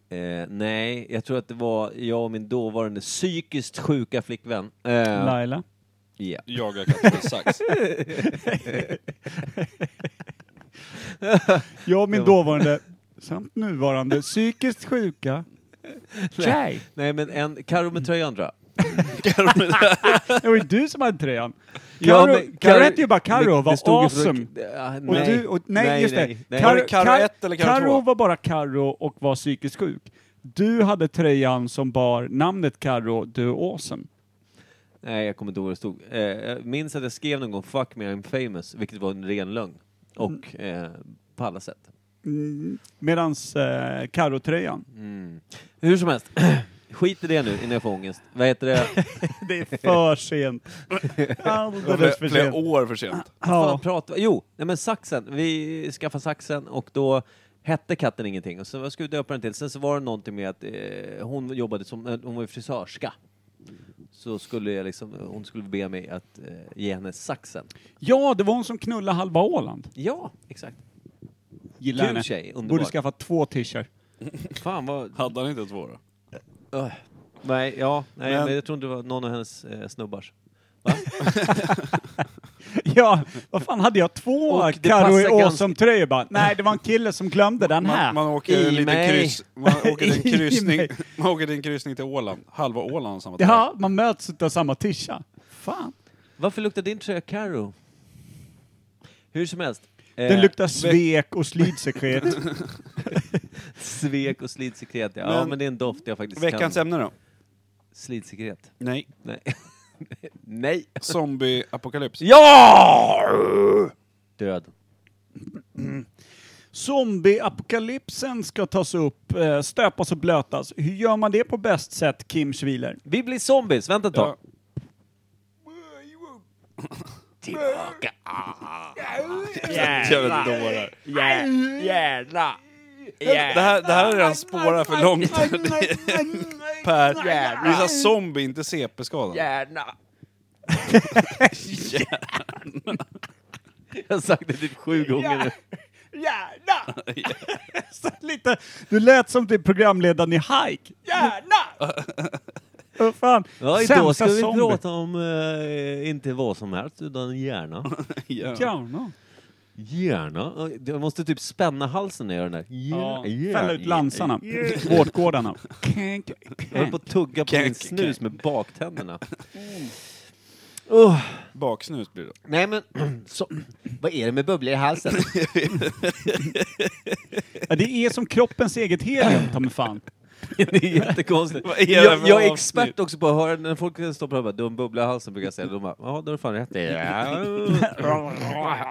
Eh, nej, jag tror att det var jag och min dåvarande psykiskt sjuka flickvän. Eh, Laila. ja. Jagar katter med sax. Jag och min dåvarande samt nuvarande psykiskt sjuka tjej. Nej, men en Karo med tröjan tror jag. Det var ju du som hade tröjan. Ja, Karo, men Karo Karo- hette ju bara Karo och det- det var stod ju för- awesome. Ja, Och nej. nej. Du, och, nej, just det. nej. Var det Karo ett eller Karo två? var bara Karo och var psykiskt sjuk. Du hade tröjan som bar namnet Karo, du är awesome. Nej, jag kommer inte ihåg vad det stod. Eh, jag minns att jag skrev någon gång 'Fuck me I'm famous' vilket var en ren lögn. Och eh, på alla sätt. Mm. Medans eh, Karo-tröjan. Mm. Hur som helst, skit i det nu innan jag får ångest. Vad heter det? Det är för sent. Alldeles för Flera, flera sent. år för sent. Fan, Ja. prata. Jo, nej men saxen. Vi skaffade saxen och då hette katten ingenting. Och så skulle vi döpa den till. Sen så var det någonting med att eh, hon jobbade som, eh, hon var ju frisörska. Så skulle jag liksom, hon skulle be mig att eh, ge henne saxen. ja, det var hon som knullade halva Åland. Ja, exakt. Gillar Kul henne. tjej, underbar. Borde skaffa två t-shirts. Fan vad... Hade han inte två då? Öh. Nej, ja, nej, Men- men... jag tror inte det var någon av hennes eh, snubbars. Ja, vad fan hade jag två Och det Karo passar i ganska- awesome-tröjor bara? Nej, det var en kille som glömde den här. Man, man åker en I liten mig. kryss, man åker till en I kryssning, mig. man åker till en kryssning till Åland. Halva Åland samma Ja, man möts av samma tisha. Fan. Varför luktar din tröja Karo? Hur som helst. Eh, Den luktar svek och slidsekret. Svek och slidsekret, ja. ja. Men- Men det är en doft jag faktiskt Veckans kan. ämne då? Slidsekret. Nej. Nej. Nej. Zombie-apokalyps. ja! Död. Zombieapokalypsen ska tas upp, eh, stöpas och blötas. Hur gör man det på bäst sätt, Kim Schwiler? Vi blir zombies, vänta ett tag. Jävla dårar. Jävla! Det här, det här är redan spårat för långt. per, visa zombie, inte CP-skadad. Jävla! Jag har sagt det typ sju gånger nu. Gärna! Så lite, du lät som till programledaren i Hike. Gärna! Vad fan, Ja, idag sämsta ska vi zombie. prata om eh, inte vad som helst, utan hjärna. Ja. Gärna. Hjärna? Eh, Jag måste typ spänna halsen när jag gör den där. Ja, Hjärna. fälla ut lansarna. Vårtgårdarna. Kank, Jag höll på att tugga på min Kank, snus med baktänderna. Oh. Baksnus blir det. Nej men, så, vad är det med bubblor i halsen? Ja, det är som kroppens eget helium, ta mig fan. Det är jättekonstigt. Vad är det jag, för jag är avsnitt? expert också på att höra när folk står på och bara, du har en bubbla i halsen brukar jag säga. De bara, ja då har du fan rätt i. Ja.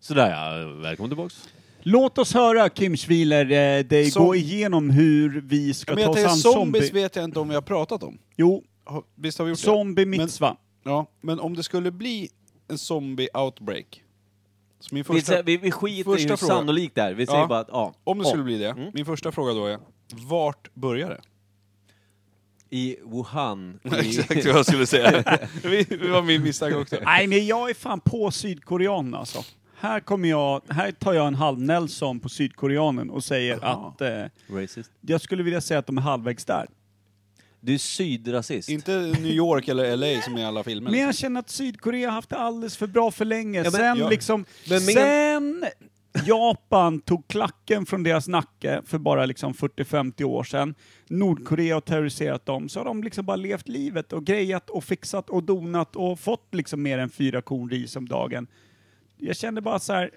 Sådär ja, välkommen tillbaks. Låt oss höra Kim Schwiler eh, dig Som- gå igenom hur vi ska Men ta jag oss tänker, an zombies zombie... vet jag inte om vi har pratat om. Jo, Har- Visst har vi gjort zombie det? Men, mitzva. ja, men om det skulle bli en zombie-outbreak. Så min Vi, första, sä- vi, vi skiter i första hur fråga. sannolikt det är. Vi säger Ja. bara att, ja. om det ja. skulle bli det, min första fråga då är, vart börjar det? I Wuhan. Exakt vad jag skulle säga. Vi- Det var min misstag också. Nej, men jag är fan på sydkoreanen alltså. Här, kommer jag, här tar jag en halv Nelson på sydkoreanen och säger att eh, Racist. jag skulle vilja säga att de är halvvägs där. Du är sydrasist. Inte New York eller LA som i alla filmer. Men jag känner att Sydkorea har haft det alldeles för bra för länge. men- sen ja. liksom, Men men- sen Japan tog klacken från deras nacke för bara liksom 40-50 år sedan. Nordkorea har terroriserat dem, så har de liksom bara levt livet och grejat och fixat och donat och fått liksom mer än fyra korn ris om dagen. Jag kände bara så här,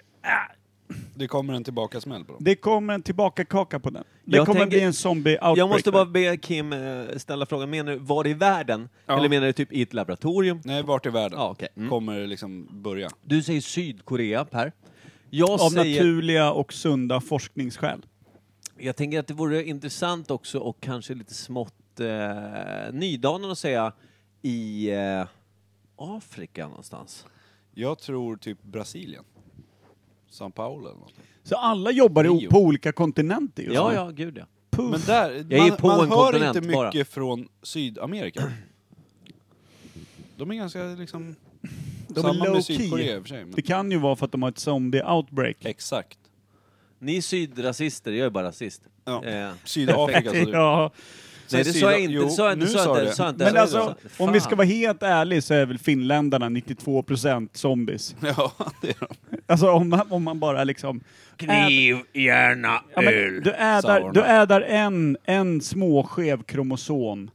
Det kommer en tillbaka smäll på dem. det kommer en tillbaka kaka på den. Det Jag kommer tänker- bli en zombie outbreak. Jag måste bara där. be Kim eh, ställa frågan, menar du var det i världen? Ja. Eller menar du typ i ett laboratorium? Nej, vart i världen Ja, okej. Mm. kommer det liksom börja? Du säger Sydkorea, Per. Jag Av säger... naturliga och sunda forskningsskäl. Jag tänker att det vore intressant också och kanske lite smått eh, nydanen att säga i eh, Afrika någonstans. Jag tror typ Brasilien. São Paulo eller något. Så alla jobbar i, Rio. på olika kontinenter just Ja, nu. ja, gud ja. Men där, Jag är man, på man en hör kontinent inte bara. mycket från Sydamerika. De är ganska liksom... De är samma low med key. Sydkorea i och för sig. Men Det kan ju vara för att de har ett zombie-outbreak. Exakt. Ni är sydrasister, jag är bara rasist. Ja. Eh, alltså, Sydafrika. Så ja. Nej, det sa jag inte. Det sa jag inte. nu det sa jag sa du inte, det sa jag inte. Men Det alltså, sa jag. om vi Fan. ska vara helt ärliga så är väl finländarna 92% zombies. Ja, det är de. Alltså om man, om man bara liksom... Kniv, gärna, öl. Du ädar, Sauron. du ädar en, en småskev kromosom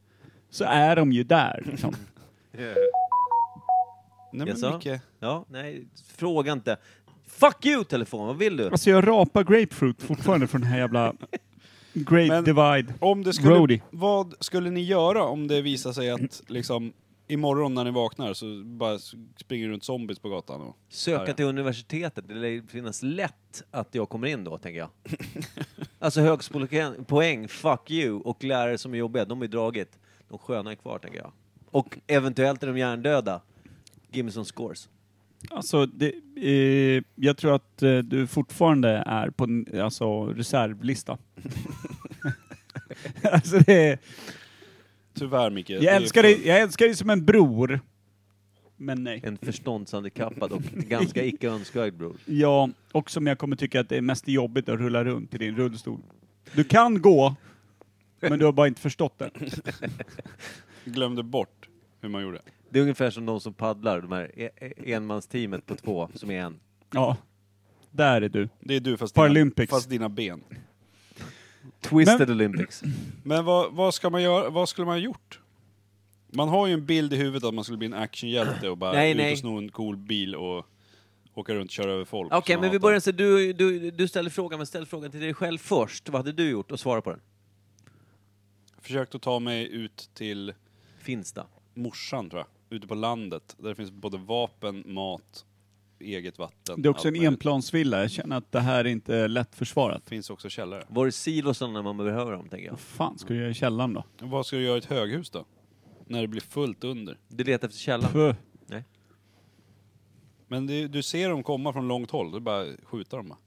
så är de ju där. Liksom. Nej Jag men sa. Micke. Ja, nej, fråga inte. Fuck you telefon, vad vill du? Alltså jag rapar grapefruit fortfarande från den här jävla Great Men- Divide. Om det skulle, Roadie. Vad skulle ni göra om det visar sig att liksom imorgon när ni vaknar så bara s- springer runt zombies på gatan? Och... Söka till universitetet, det lär ju finnas lätt att jag kommer in då, tänker jag. Alltså högskolepoäng, poäng, fuck you, och lärare som är jobbiga, de är dragit. De sköna är kvar, tänker jag. Och eventuellt är de hjärndöda. Give me some scores. Alltså, det, eh, jag tror att eh, du fortfarande är på en, alltså, reservlista. alltså, det, är- Tyvärr Micke. det jag, är älskar för- dig, jag älskar dig som en bror. Men nej. En förståndshandikappad och ganska icke önskvärd bror. Ja, och som jag kommer tycka att det är mest jobbigt att rulla runt i din rullstol. Du kan gå, men du har bara inte förstått det. Glömde bort hur man gjorde. Det är ungefär som de som paddlar, de här e- e- enmansteamet på två, som är en. Ja, där är du. Det är du fast, dina, Paralympics. fast dina ben. Twisted Men- Olympics. Men vad, vad, ska man göra, vad skulle man ha gjort? Man har ju en bild i huvudet att man skulle bli en actionhjälte och bara Nej, ut nej. och sno en cool bil och åka runt och köra över folk. Okej, som men vi hatar. börjar så du, du, du ställer frågan, men ställ frågan till dig själv först. Vad hade du gjort? Och svara på den. Försökte ta mig ut till Finsta. morsan tror jag. Ute på landet. Där det finns både vapen, mat, eget vatten. Det är också allt en möjligt. enplansvilla. Jag känner att det här är inte lätt försvarat. finns också källare. Var är silosarna när man behöver dem, tänker jag. Vad fan ska du göra i källaren då? Vad ska du göra i ett höghus då? När det blir fullt under. Du letar efter källan. Puh. Men det, du ser dem komma från långt håll, det är bara att skjuta dem bara.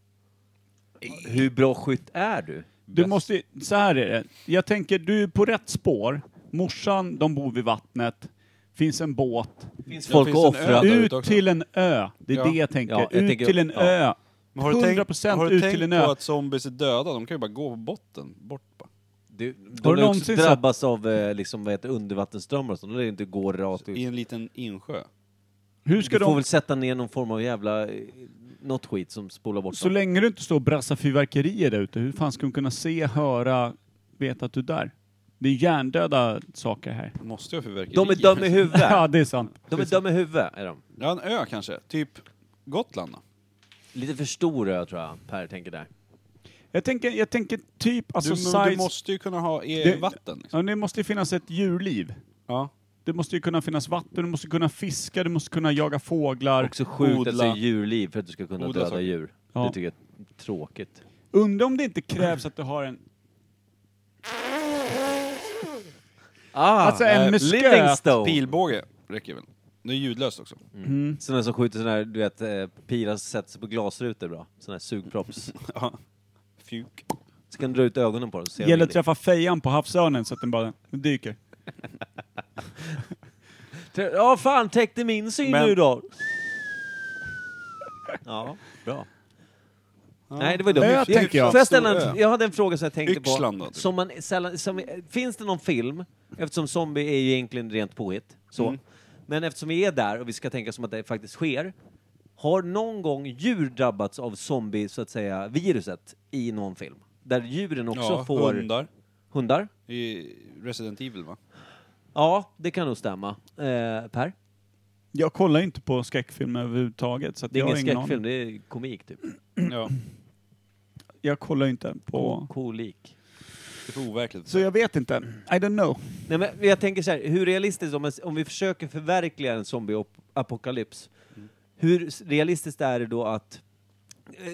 Hur bra skytt är du? Du måste, ju- så här är det. Jag tänker, du är på rätt spår. Morsan, de bor vid vattnet. Finns en båt. Finns Ja, folk finns att en offra? ö där Ut ute också. till en ö. Det är Ja. det jag tänker. Ja, jag ut tänker- till en ja. ö. Men har du tänkt- 100% har du ut tänkt till en på ö. att zombies är döda? De kan ju bara gå på botten, bort bara. Du, de du har ju också någonsin sett- drabbats av eh, liksom, vad heter, det, undervattensströmmar och sånt. Då är det inte går rakt I ut. en liten insjö. Hur ska Du får de... väl sätta ner någon form av jävla... eh, Något skit som spolar bort Så dem. länge du inte står och brassar fyrverkerier där ute, hur fan ska de kunna se, höra, veta att du är där? Det är hjärndöda saker här. Måste jag förverka De är dumma i Ja, huvudet. det är sant. De är dumma i huvudet, är de. Ja, en ö kanske. Typ Gotland Alltså då. Lite för stor ö, tror jag, Per tänker där. Jag tänker, jag tänker typ, alltså Du, men du size... måste ju kunna ha e Det- vatten. Liksom. ja, det måste ju finnas ett djurliv. Ja. Det måste ju kunna finnas vatten, du måste kunna fiska, du måste kunna jaga fåglar. Också sjukt att Odla. säga djurliv för att du ska kunna Odla döda saker. djur. Ja. Det tycker jag är tråkigt. Undra om det inte krävs att du har en... Ah, Alltså en eh, musköt. Livingstone! Pilbåge räcker väl. Det är ljudlöst också. Mm. Mm. Sådana som skjuter sådana här, du vet, eh, pilar som sätter sig på glasrutor bra. Sådana här sugpropps. Ja. Fjuk. Så kan du dra ut ögonen på dem så ser de liksom Gäller in att i. träffa fejan på havsörnen så att den bara dyker. Trä- Ja, fan täckte min syn Men- nu då! Ja, bra. Nej, det var dumt. Ö, Jag, tänker jag. Får jag, ställa Stor en, ö. jag hade en fråga som jag tänkte Yxland på. då, typ. Som man sällan, som, finns det någon film, eftersom zombie är ju egentligen rent påhitt, så. Mm. Men eftersom vi är där och vi ska tänka som att det faktiskt sker, har någon gång djur drabbats av zombie, så att säga, viruset i någon film? Där djuren också Ja, får... hundar. Hundar? I Resident Evil va? Ja, det kan nog stämma. Eh, per? Jag kollar ju inte på skräckfilm överhuvudtaget så att Det jag är har ingen ingen aning. skräckfilm, det är komik typ. Mm. Ja. Jag kollar ju inte på... Kolik. Det är för overkligt. Så jag vet inte. I don't know. Nej, men jag tänker så här, hur realistiskt, om, om vi försöker förverkliga en zombieapokalyps, hur realistiskt är det då att,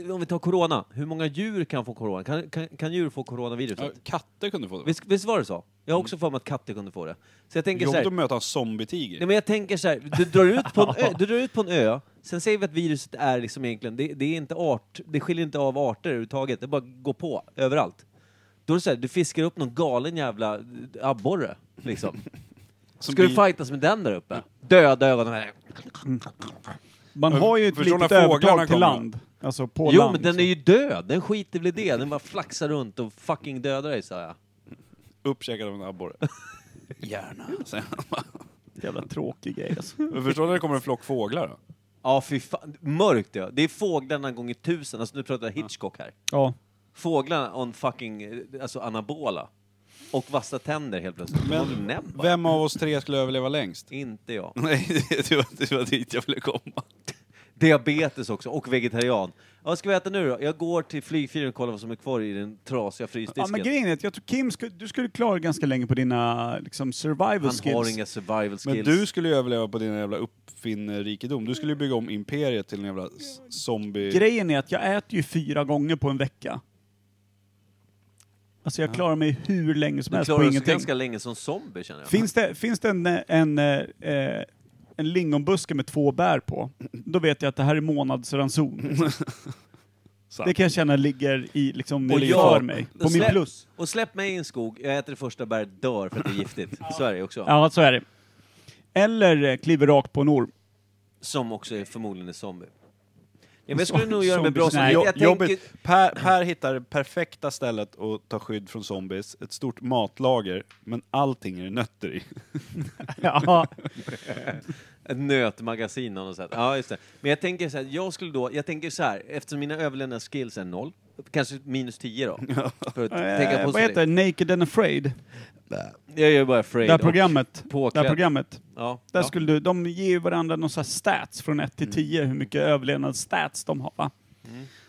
eh, om vi tar corona, hur många djur kan få corona? Kan, kan, kan djur få coronaviruset? Ja, katter kunde få det. Visst, visst var det så? Jag har också för mig att katter kunde få det. Så jag tänker så Jobbigt här, att möta en zombietiger. Nej, men jag tänker så här, du drar ut på en ö, du drar ut på en ö sen säger vi att viruset är liksom egentligen, det, det är inte art, det skiljer inte av arter överhuvudtaget, det bara går på överallt. Då är det så här, du fiskar upp någon galen jävla abborre, liksom. Som Ska du blir- fightas med den där uppe? Döda ögonen här. Man har ju ett Förstår när litet fåglarna övertag till kommer? land. Alltså på Jo, land. men den är liksom. ju död, den skiter väl i det, den bara flaxar runt och fucking dödar dig, sa jag. Uppkäkad av en abborre. Gärna, säger han. Jävla tråkig grej alltså. Men förstår du när det kommer en flock fåglar då? Ja, fy fan. Mörkt ja. Det är fåglarna gånger tusen. Alltså nu pratar jag Hitchcock här. Ja. Fåglarna on fucking, eh, alltså anabola. Och vassa tänder helt plötsligt. Men Men, näbbar. Vem av oss tre skulle överleva längst? Inte jag. Nej, det var, det var dit jag ville komma. Diabetes också, och vegetarian. Ja, vad ska vi äta nu då? Jag går till flygfyren och kollar vad som är kvar i den trasiga ja, frysdisken. men grejen är att jag tror Kim, sku, du skulle klara ganska länge på dina liksom, survival Han skills. har inga survival skills. Men du skulle ju överleva på din jävla uppfinnerikedom. Du skulle ju bygga om imperiet till en jävla s- zombie... Grejen är att jag äter ju fyra gånger på en vecka. Alltså jag klarar mig hur länge som Du helst klarar på oss ingenting. ganska länge som zombie känner jag. Finns det, finns det en, eh, en, eh, eh, en lingonbuske med två bär på, då vet jag att det här är månadsranson. det kan jag känna ligger i, liksom, Och för jag- mig. och På min släpp- plus. Och släpp mig i en skog, jag äter det första bäret, dör för att det är giftigt. Så är det också. Ja, så är det. Eller eh, kliver rakt på en orm. Som också är förmodligen är zombie. Ja, men jag skulle nog göra mig Zombie. bra som... Nej, Jag, Jo, jag tänker... jobbigt. Per, per hittar det perfekta stället att ta skydd från zombies, ett stort matlager, men allting är det nötter i. Ja. Ett nötmagasin av något sätt. Ja, just det. Men jag tänker så här, jag skulle då, jag tänker så här, eftersom mina överlevnadsskills är noll, kanske minus 10 då. För att tänka Eh, vad positivt. heter det? Naked and Afraid? Jag gör bara Det afraid. här och programmet. Det Påklädd. här programmet. Ja. Där ja. skulle du, de ger ju varandra någon så här stats från 1 till 10, hur mycket överlevnadsstats de har va?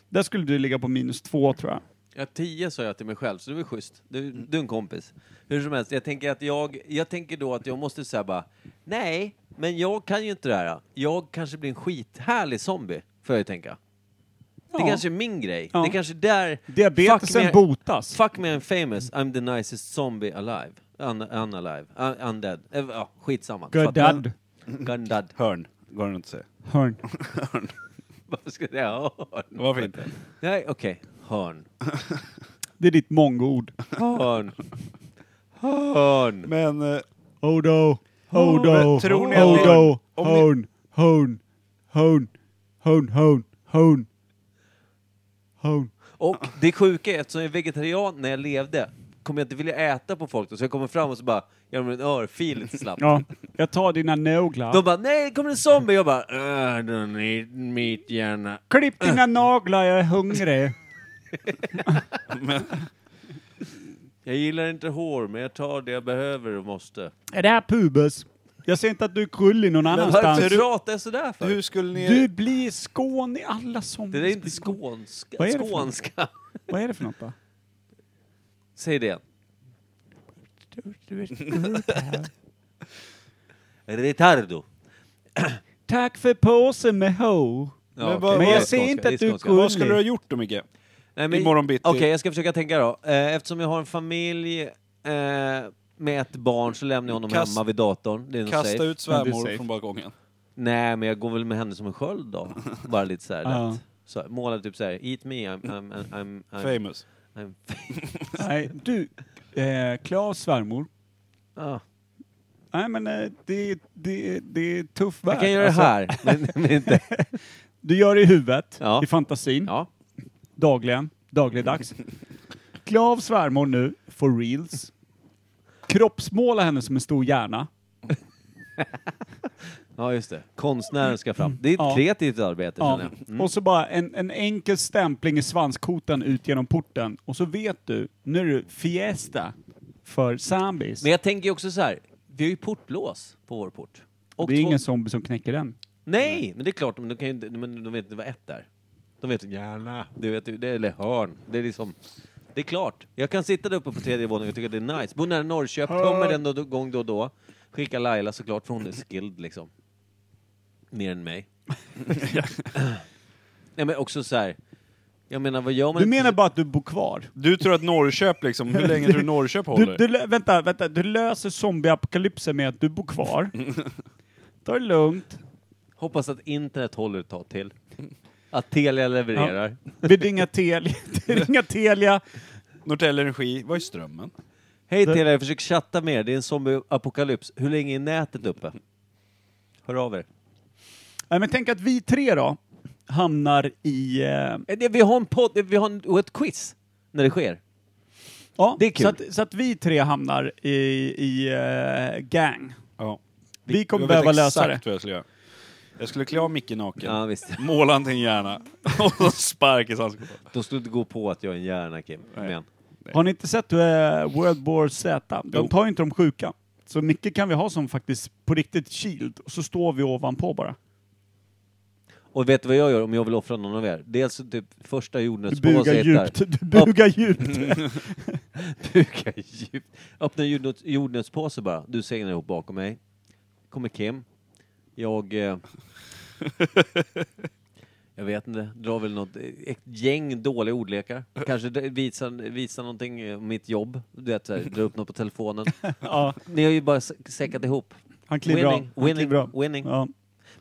Där skulle du ligga på minus 2 tror jag. Ja, tio sa jag till mig själv, så det var schysst. Du, du är en kompis. Hur som helst, jag tänker, att jag, jag tänker då att jag måste säga bara, nej, men jag kan ju inte det här. Jag kanske blir en skithärlig zombie, får jag ju tänka. Det Ja. kanske är min grej. Ja. Det kanske är där... Diabetesen fuck me, botas. Fuck me I'm famous, I'm the nicest zombie alive. Un, unalive. Un, undead. Eh, Ja, skitsamma. Fattar. Godad. Gundad. Hörn, går det inte att säga. Hörn. Varför ska jag säga hörn? Varför inte? Nej, okej. Hörn. Det är ditt mongoord. Hörn. Hörn. Men eh, Hodo. Hodo. Men tror ni att ni- Hodo. om ni- Hon. Hon. Hon. Hon. Hon. Hon. Hon. Och det sjuka är, eftersom jag är vegetarian när jag levde, kommer jag inte vilja äta på folk då. Så jag kommer fram och så bara, gör dem en örfil lite slappt. Ja, jag tar dina naglar. De bara, nej, det kommer en zombie! Jag bara, "Äh, I don't eat meat gärna. Klipp dina naglar, jag är hungrig. Jag gillar inte hår, men jag tar det jag behöver och måste. Är det här pubes? Jag ser inte att du är krullig någon Varför annanstans. pratar jag sådär för? hur skulle ni... Du blir skån i alla som... Det där är inte skånska. Vad är det för skånska. Vad är det för något då? Säg det igen. Retardo. Tack för påsen med ho. Ja, Men okej, vad- det Men är jag ser skånska, inte det är att du är skånska. Vad skulle du ha krullig. gjort då Micke? Nej, Imorgon bitti. Okej, jag ska försöka tänka då. Eh, Eftersom jag har en familj eh, med ett barn så lämnar jag honom Kast- hemma vid datorn. Det är nog Kasta safe. ut Ja, det är safe. svärmor från balkongen. Nej, men jag går väl med henne som en sköld då. Bara lite så här Ja. lätt. Så, måla typ så här, eat me, I'm, I'm, I'm, I'm, I'm, Famous. I'm Nej, du. Eh, Klas svärmor. ah. Nej men eh, det, det, det är tuff värld. Alltså, Jag kan göra det här, men, men inte... Du gör det i huvudet, Ja. i fantasin, Ja. dagligen, dagligdags. Klä av svärmor nu, for reals. Kroppsmåla henne som en stor hjärna. ja, just det. Konstnären ska fram. Det är ett Ja. kreativt arbete, Ja. känner jag. Och så bara en, en enkel stämpling i svanskotan ut genom porten. Och så vet du, nu är det fiesta för zombies. Men jag tänker ju också så här, vi har ju portlås på vår port. Och det är två- ingen zombie som knäcker den. Nej, men det är klart, men de, kan ju, inte- men de vet inte vad ett är. De vet gärna. Du vet, ju, det är, eller hörn. Det är liksom... Det är klart. Jag kan sitta där uppe på tredje våningen och tycka det är nice. Bor nära Norrköping, kommer den då, då, gång då och då. Skicka Laila såklart, för hon är skilled liksom. Mer än mig. Nej men också så här. Jag menar, vad gör man? Du menar bara att du bor kvar? Du tror att Norrköp liksom, hur länge tror du Norrköp Du, håller? du, lö- vänta, vänta, du löser zombieapokalypsen med att du bor kvar. Ta det lugnt. Hoppas att internet håller ett tag till. Att Telia levererar. Vi ringer Telia. Vi ringer Telia. Norrtälje Energi, vad är strömmen? Hej Telia, jag försöker chatta med er. Det är en zombieapokalyps. Hur länge är nätet uppe? Hör av er. Nej, men tänk att vi tre då hamnar i... Eh, Eh, det- Vi har en podd, vi har en, och ett quiz när det sker. Ja, Det är kul. Så, att, så att vi tre hamnar i, i eh, gang. Ja. Vi kommer Jag vet behöva lösa det. exakt vad jag skulle göra. Jag skulle klä av Micke naken, Ja, visst. måla han till en hjärna och så spark i ansiktet. Då skulle du gå på att jag är en hjärna, Kim. Kom igen. Har ni inte sett eh, World War Z? Jo. De tar ju inte de sjuka. Så mycket kan vi ha som faktiskt på riktigt shield, och så står vi ovanpå bara. Och vet du vad jag gör om jag vill offra någon av er? Dels så typ första Du jordnötspåse bugar heter... djupt, du bugar djupt. Buga djupt. Öppna en jordnöts, jordnötspåse bara. Du segnar ihop bakom mig. Kommer Kim. Jag... Eh, jag vet inte. Drar väl något... eh, Ett gäng dåliga ordlekar. Kanske d- visar, visar någonting eh, om mitt jobb. Du vet, så här, drar upp något på telefonen. ja, Ni har ju bara s- säckat ihop. han kliver av. Winning, Han winning, kliver av. winning. Ja.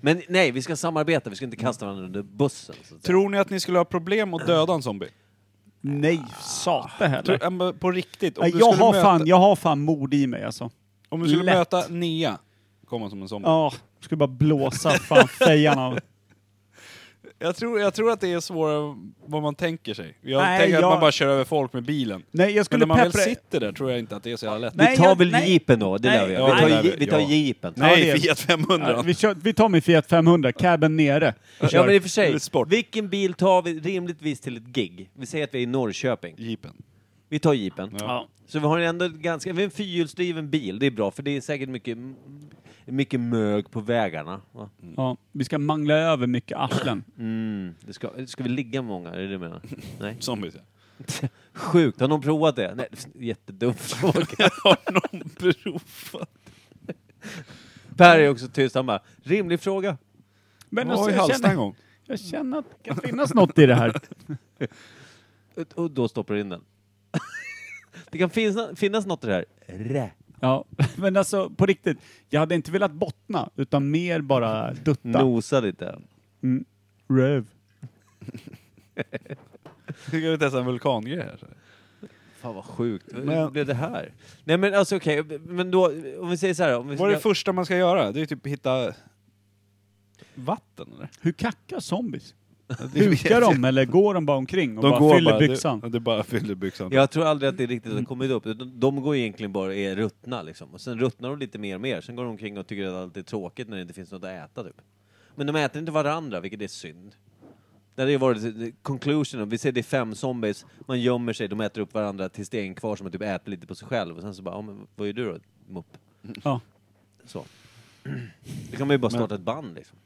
Men nej, vi ska samarbeta. Vi ska inte kasta varandra under bussen. Så att säga. Tror ni att ni skulle ha problem att döda en zombie? Nej, sate Tror, heller. ja, men på riktigt? Om Nej, du jag, skulle har möta, fan, jag har fan mod i mig alltså. om du skulle lätt. möta Nea, komma som en zombie. Ja, skulle bara blåsa fan fejan av. Jag, tror, jag tror att det är svårare än vad man tänker sig. Jag Nej, tänker jag- att man bara kör över folk med bilen. Nej, jag Men skulle när man väl peppra... sitter där tror jag inte att det är så jävla lätt. Nej, vi tar jag- väl nej. jeepen då? Det Nej. lär vi göra. Ja, det lär Vi tar, vi. je- vi tar Ja. jeepen. Ja, det- Nej, Fiat 500! Ja, vi, kör, vi tar min Fiat 500, cabben nere. Vi Ja kör. men i och för sig, Sport. vilken bil tar vi rimligtvis till ett gig? Vi säger att vi är i Norrköping. Jeepen. Vi tar jeepen. Ja. Så vi har ändå ett ganska, vi har en fyrhjulsdriven bil, det är bra för det är säkert mycket, mycket mög på vägarna. Va? Mm. Ja, vi ska mangla över mycket arslen. Mm. Det ska, ska vi ligga många, är det det du menar? Nej. Zombies ja. Sjukt, har någon provat det? Nej, jättedum fråga. Har någon provat? Per är också tyst, han bara, rimlig fråga. Men Jag var alltså, i jag, Hallsta en känner, gång. jag känner att det kan finnas något i det här. Och då stoppar du in den. det kan finnas, finnas något i det här. Rä. Ja, men alltså på riktigt. Jag hade inte velat bottna, utan mer bara dutta. Nosa lite. Röv. Ska vi testa en vulkangrej här? Fan vad sjukt. Hur Men- blev det här? Nej men alltså okej, men då, om vi säger så här. Om vi Vad är det ska- första man ska göra? Det är typ hitta vatten eller? Hur kackar zombies? Hukar de eller går de bara omkring och bara fyller byxan? Det, det bara fyller byxan. Jag tror aldrig att det riktigt Mm. har kommit upp. De- De går egentligen bara och är ruttna liksom. Och sen ruttnar de lite mer och mer. Sen går de omkring och tycker att allt är tråkigt när det inte finns något att äta typ. Men de äter inte varandra, vilket är synd. Det hade ju varit eh, conclusion. Vi ser det är fem zombies, man gömmer sig, de äter upp varandra tills det är en kvar som typ äter lite på sig själv. Och sen så bara, ja, men vad gör du då? Mupp. Ja. Så. Då kan man ju bara starta ett band liksom.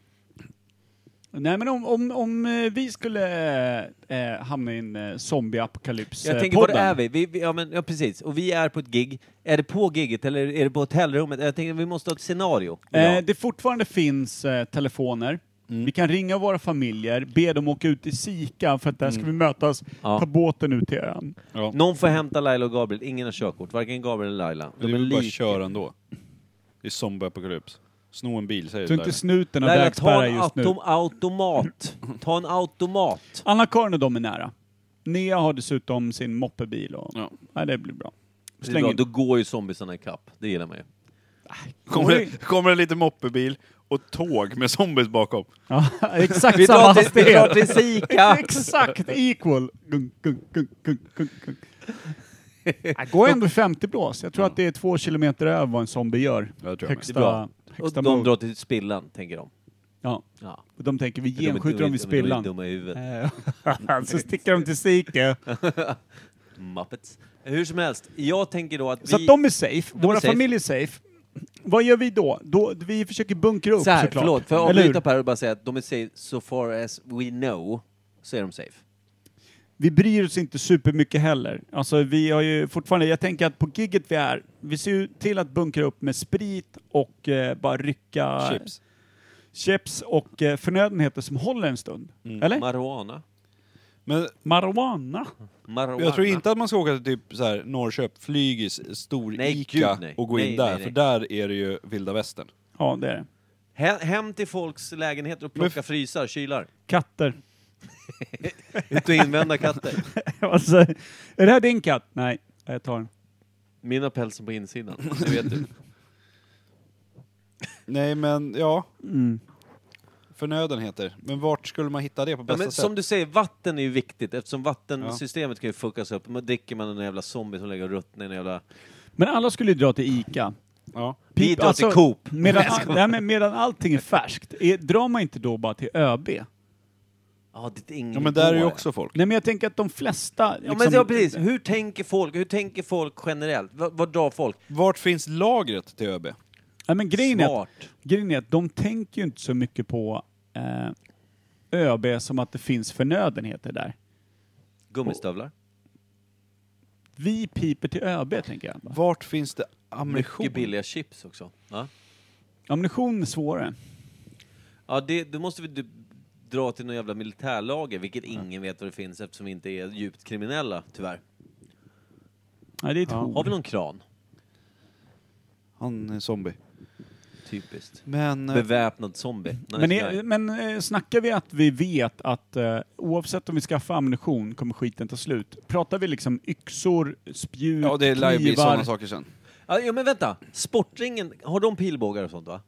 Nej men om, om, om eh, vi skulle eh, hamna i en eh, zombieapokalyps-podden. Jag tänker, var är vi? vi, vi ja, men, ja, precis. Och vi är på ett gig. Är det på giget eller är det på hotellrummet? Jag tänker, vi måste ha ett scenario. Eh, det fortfarande finns eh, telefoner. Vi kan ringa våra familjer, be dem åka ut i Sika för att där ska vi mötas, Ja. ta båten ut till ön. Ja. Någon får hämta Laila och Gabriel. Ingen har körkort. Varken Gabriel eller Laila. Det De är är väl bara att lika. köra ändå. Det är zombieapokalyps. Sno en bil säger Så du inte där. snuten har Laila, ta vägspärrar en just nu. autom- automat. Ta en automat. Anna-Karin och de är nära. Nea har dessutom sin moppebil och... Ja. Nej, det blir bra. Det är bra. Släng Då in. går ju zombiesarna ikapp. Det gillar man ju. Kommer, Oj. det- kommer det lite moppebil och tåg med zombies bakom. Ja, exakt Vi samma drar till, vi drar hastighet. till Sika. Exakt equal. Gung, gung, gung, gung, gung, gung. Jag går ändå i 50 blås. Jag tror att det är två kilometer över vad en zombie gör. Jag tror jag Det är bra. Högsta, Och högsta de mode. drar till Spillan, tänker de. Ja. Ja. Och de tänker vi De är genskjuter dem vid dumma- de är spillan. dumma i huvudet. Eh, Så sticker de till Sike. Muppets. Hur som helst, jag tänker då att Så vi... att de är safe. är Våra safe. familjer är safe. Vad gör vi då? då vi försöker bunkra upp så här, såklart. förlåt, för jag Eller hur? avbryta Per och bara säga att de är safe so far as we know, så är de safe. Vi bryr oss inte supermycket heller. Alltså vi har ju fortfarande, jag tänker att på gigget vi är, vi ser ju till att bunkra upp med sprit och eh, bara rycka Chips. chips och eh, förnödenheter som håller en stund. Mm. Eller? Marijuana. Men Marijuana. Marijuana. jag tror inte att man ska åka till typ så här Norrköp, flygis, stor Nej, Ica gud, nej. och gå Nej, in där. nej, nej. För där är det ju vilda västern. Ja, det är det. He- Hem till folks lägenheter och plocka frysar, kylar. Katter. Ut och invända katter. alltså, är det här din katt? Nej, jag tar den. Mina pälsen på insidan, det vet du. Mm. Nej men ja. Förnödenheter. Men vart skulle man hitta det på Ja, bästa men sätt? som du säger, vatten är ju viktigt eftersom vattensystemet vattensystemet kan ju fuckas upp. Man dricker man en jävla zombie som lägger ruttna i en jävla... Men alla skulle ju dra till ICA. Ja. Vi drar alltså- till Coop. Medan, nej, men medan allting är färskt, är, drar man inte då bara till ÖB? Ja, det är ingen ja, men där är ju idé. också folk. Nej men jag tänker att de flesta... Ja, Liksom, men ja, precis. Hur tänker folk? Hur tänker folk generellt? Vad, vad drar folk? Vart finns lagret till ÖB? Ja, men grejen, är att, Smart. grejen är att de tänker ju inte så mycket på eh, ÖB som att det finns förnödenheter där. Gummistövlar? Vi piper till ÖB, tänker jag. Vart finns det ammunition? Mycket billiga chips också. Ja, Ammunition är svårare. ja det, då måste vi d- dra till någon jävla militärlager, vilket ingen vet vad det finns eftersom vi inte är djupt kriminella, tyvärr. Nej, det är ett Har hot. vi någon kran? Han är zombie. Typiskt. Men... eh, Beväpnad zombie. Nice Men, guy. är, men eh, snackar vi att vi vet att eh, oavsett om vi skaffar ammunition kommer skiten ta slut? Pratar vi liksom yxor, spjut, Ja, det lär ju bli sådana knivar? saker sen. Ja, jo, men vänta. Sportringen, har de pilbågar och sånt va?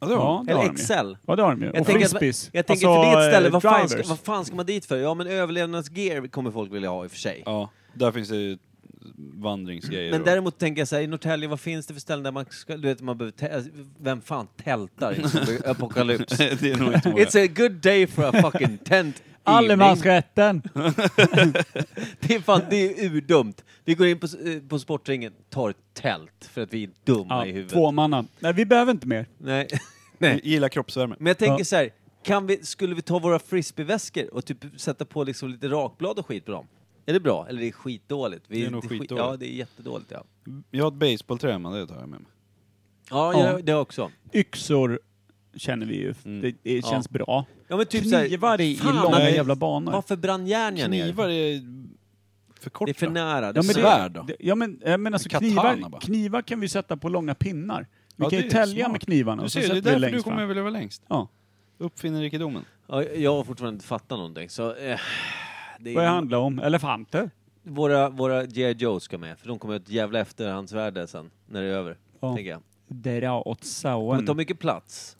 Ja, det Ja, det har Eller de ju. XL? Ja, det har de ju. Jag Och tänker, frisbees. att, jag tänker för det är ett ställe, eh, vad fan, ska, drivers. vad fan ska man dit för? Ja men överlevnadsgear kommer folk vilja ha i och för sig. ja, där finns det ju vandringsgrejer. Men och- däremot tänker jag såhär, i Norrtälje, vad finns det för ställen där man ska, du vet, man behöver, tä- alltså, vem fan tältar i en zombie- apokalyps? det är nog inte många. It's a good day for a fucking tent evening. Allemansrätten! Det är fan, det är urdumt. Vi går in på, s- eh, på sportringen, tar ett tält för att vi är dumma Ja, i huvudet. två manna. Nej, vi behöver inte mer. Nej. Jag Gillar kroppsvärme. Men jag tänker Ja. så här, kan vi, skulle vi ta våra frisbeeväskor och typ sätta på liksom lite rakblad och skit på dem? Är det bra? Eller är det skitdåligt? Vi, Det är nog skit- skitdåligt. Ja, det är jättedåligt ja. Jag har ett baseballträ men det tar jag med mig. Ja, Ja. Jag, det också. Yxor känner vi ju. Det, det känns bra. Mm. Ja men typ så här, Knivar i, i fan, långa nej. jävla banor. varför brann järnen ner? Knivar är för korta. Det är för nära. Det Ja, är men det- svärd då? det- Ja, men, eh, men alltså Katana knivar, bara. knivar kan vi sätta på långa pinnar. Vi Ja, kan det ju är tälja smart. med knivarna Du och ser, så det är sätter vi därför du längst kommer fram. överleva längst. Ja. Uppfinnerrikedomen. ja, jag har fortfarande inte fattat någonting så... Eh, det Vad det är, handlar om? Elefanter? våra våra G.I. Joe ska med, för de kommer att jävla efterhandsvärde sen, när det är över. Ja. Tänker jag. Dra åt De sauen. tar mycket plats.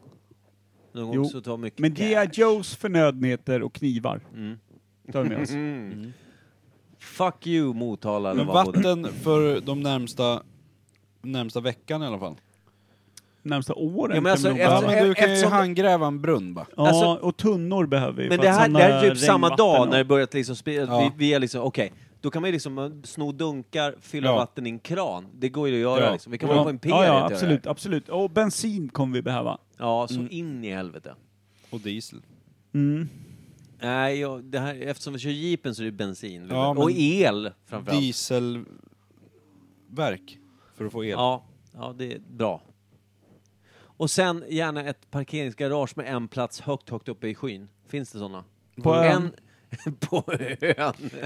De kommer Jo, också ta mycket Men G.I. cash. Joes förnödenheter och knivar Mm. tar vi med oss. Fuck you Motala eller Men vad bodde. vatten för de närmsta, närmsta veckan i alla fall. Närmsta åren Ja, men kan alltså, vi nog Ja, Alltså, behöva. men du kan ju eftersom- handgräva en brunn bara. Ja, alltså- och tunnor behöver vi. Men för det att här, det här är samla typ samma regnvatten dag och- när det börjat liksom spela, Ja. vi, vi är liksom, okej, då kan man ju liksom eh, sno dunkar, fylla Ja. vatten i en kran. Det går ju att göra Ja. liksom. Vi kan vara på Imperiet ja, och göra ja, det. absolut, absolut. Och bensin kommer vi behöva. Ja, så in i helvete. Och diesel. Nej, jag, det här, eftersom vi kör jeepen så är det bensin. Ja, och men- el framförallt. Dieselverk. För att få el. Ja, ja, det är bra. Och sen gärna ett parkeringsgarage med en plats högt, högt uppe i skyn. Finns det sådana? På ön. En, på ön.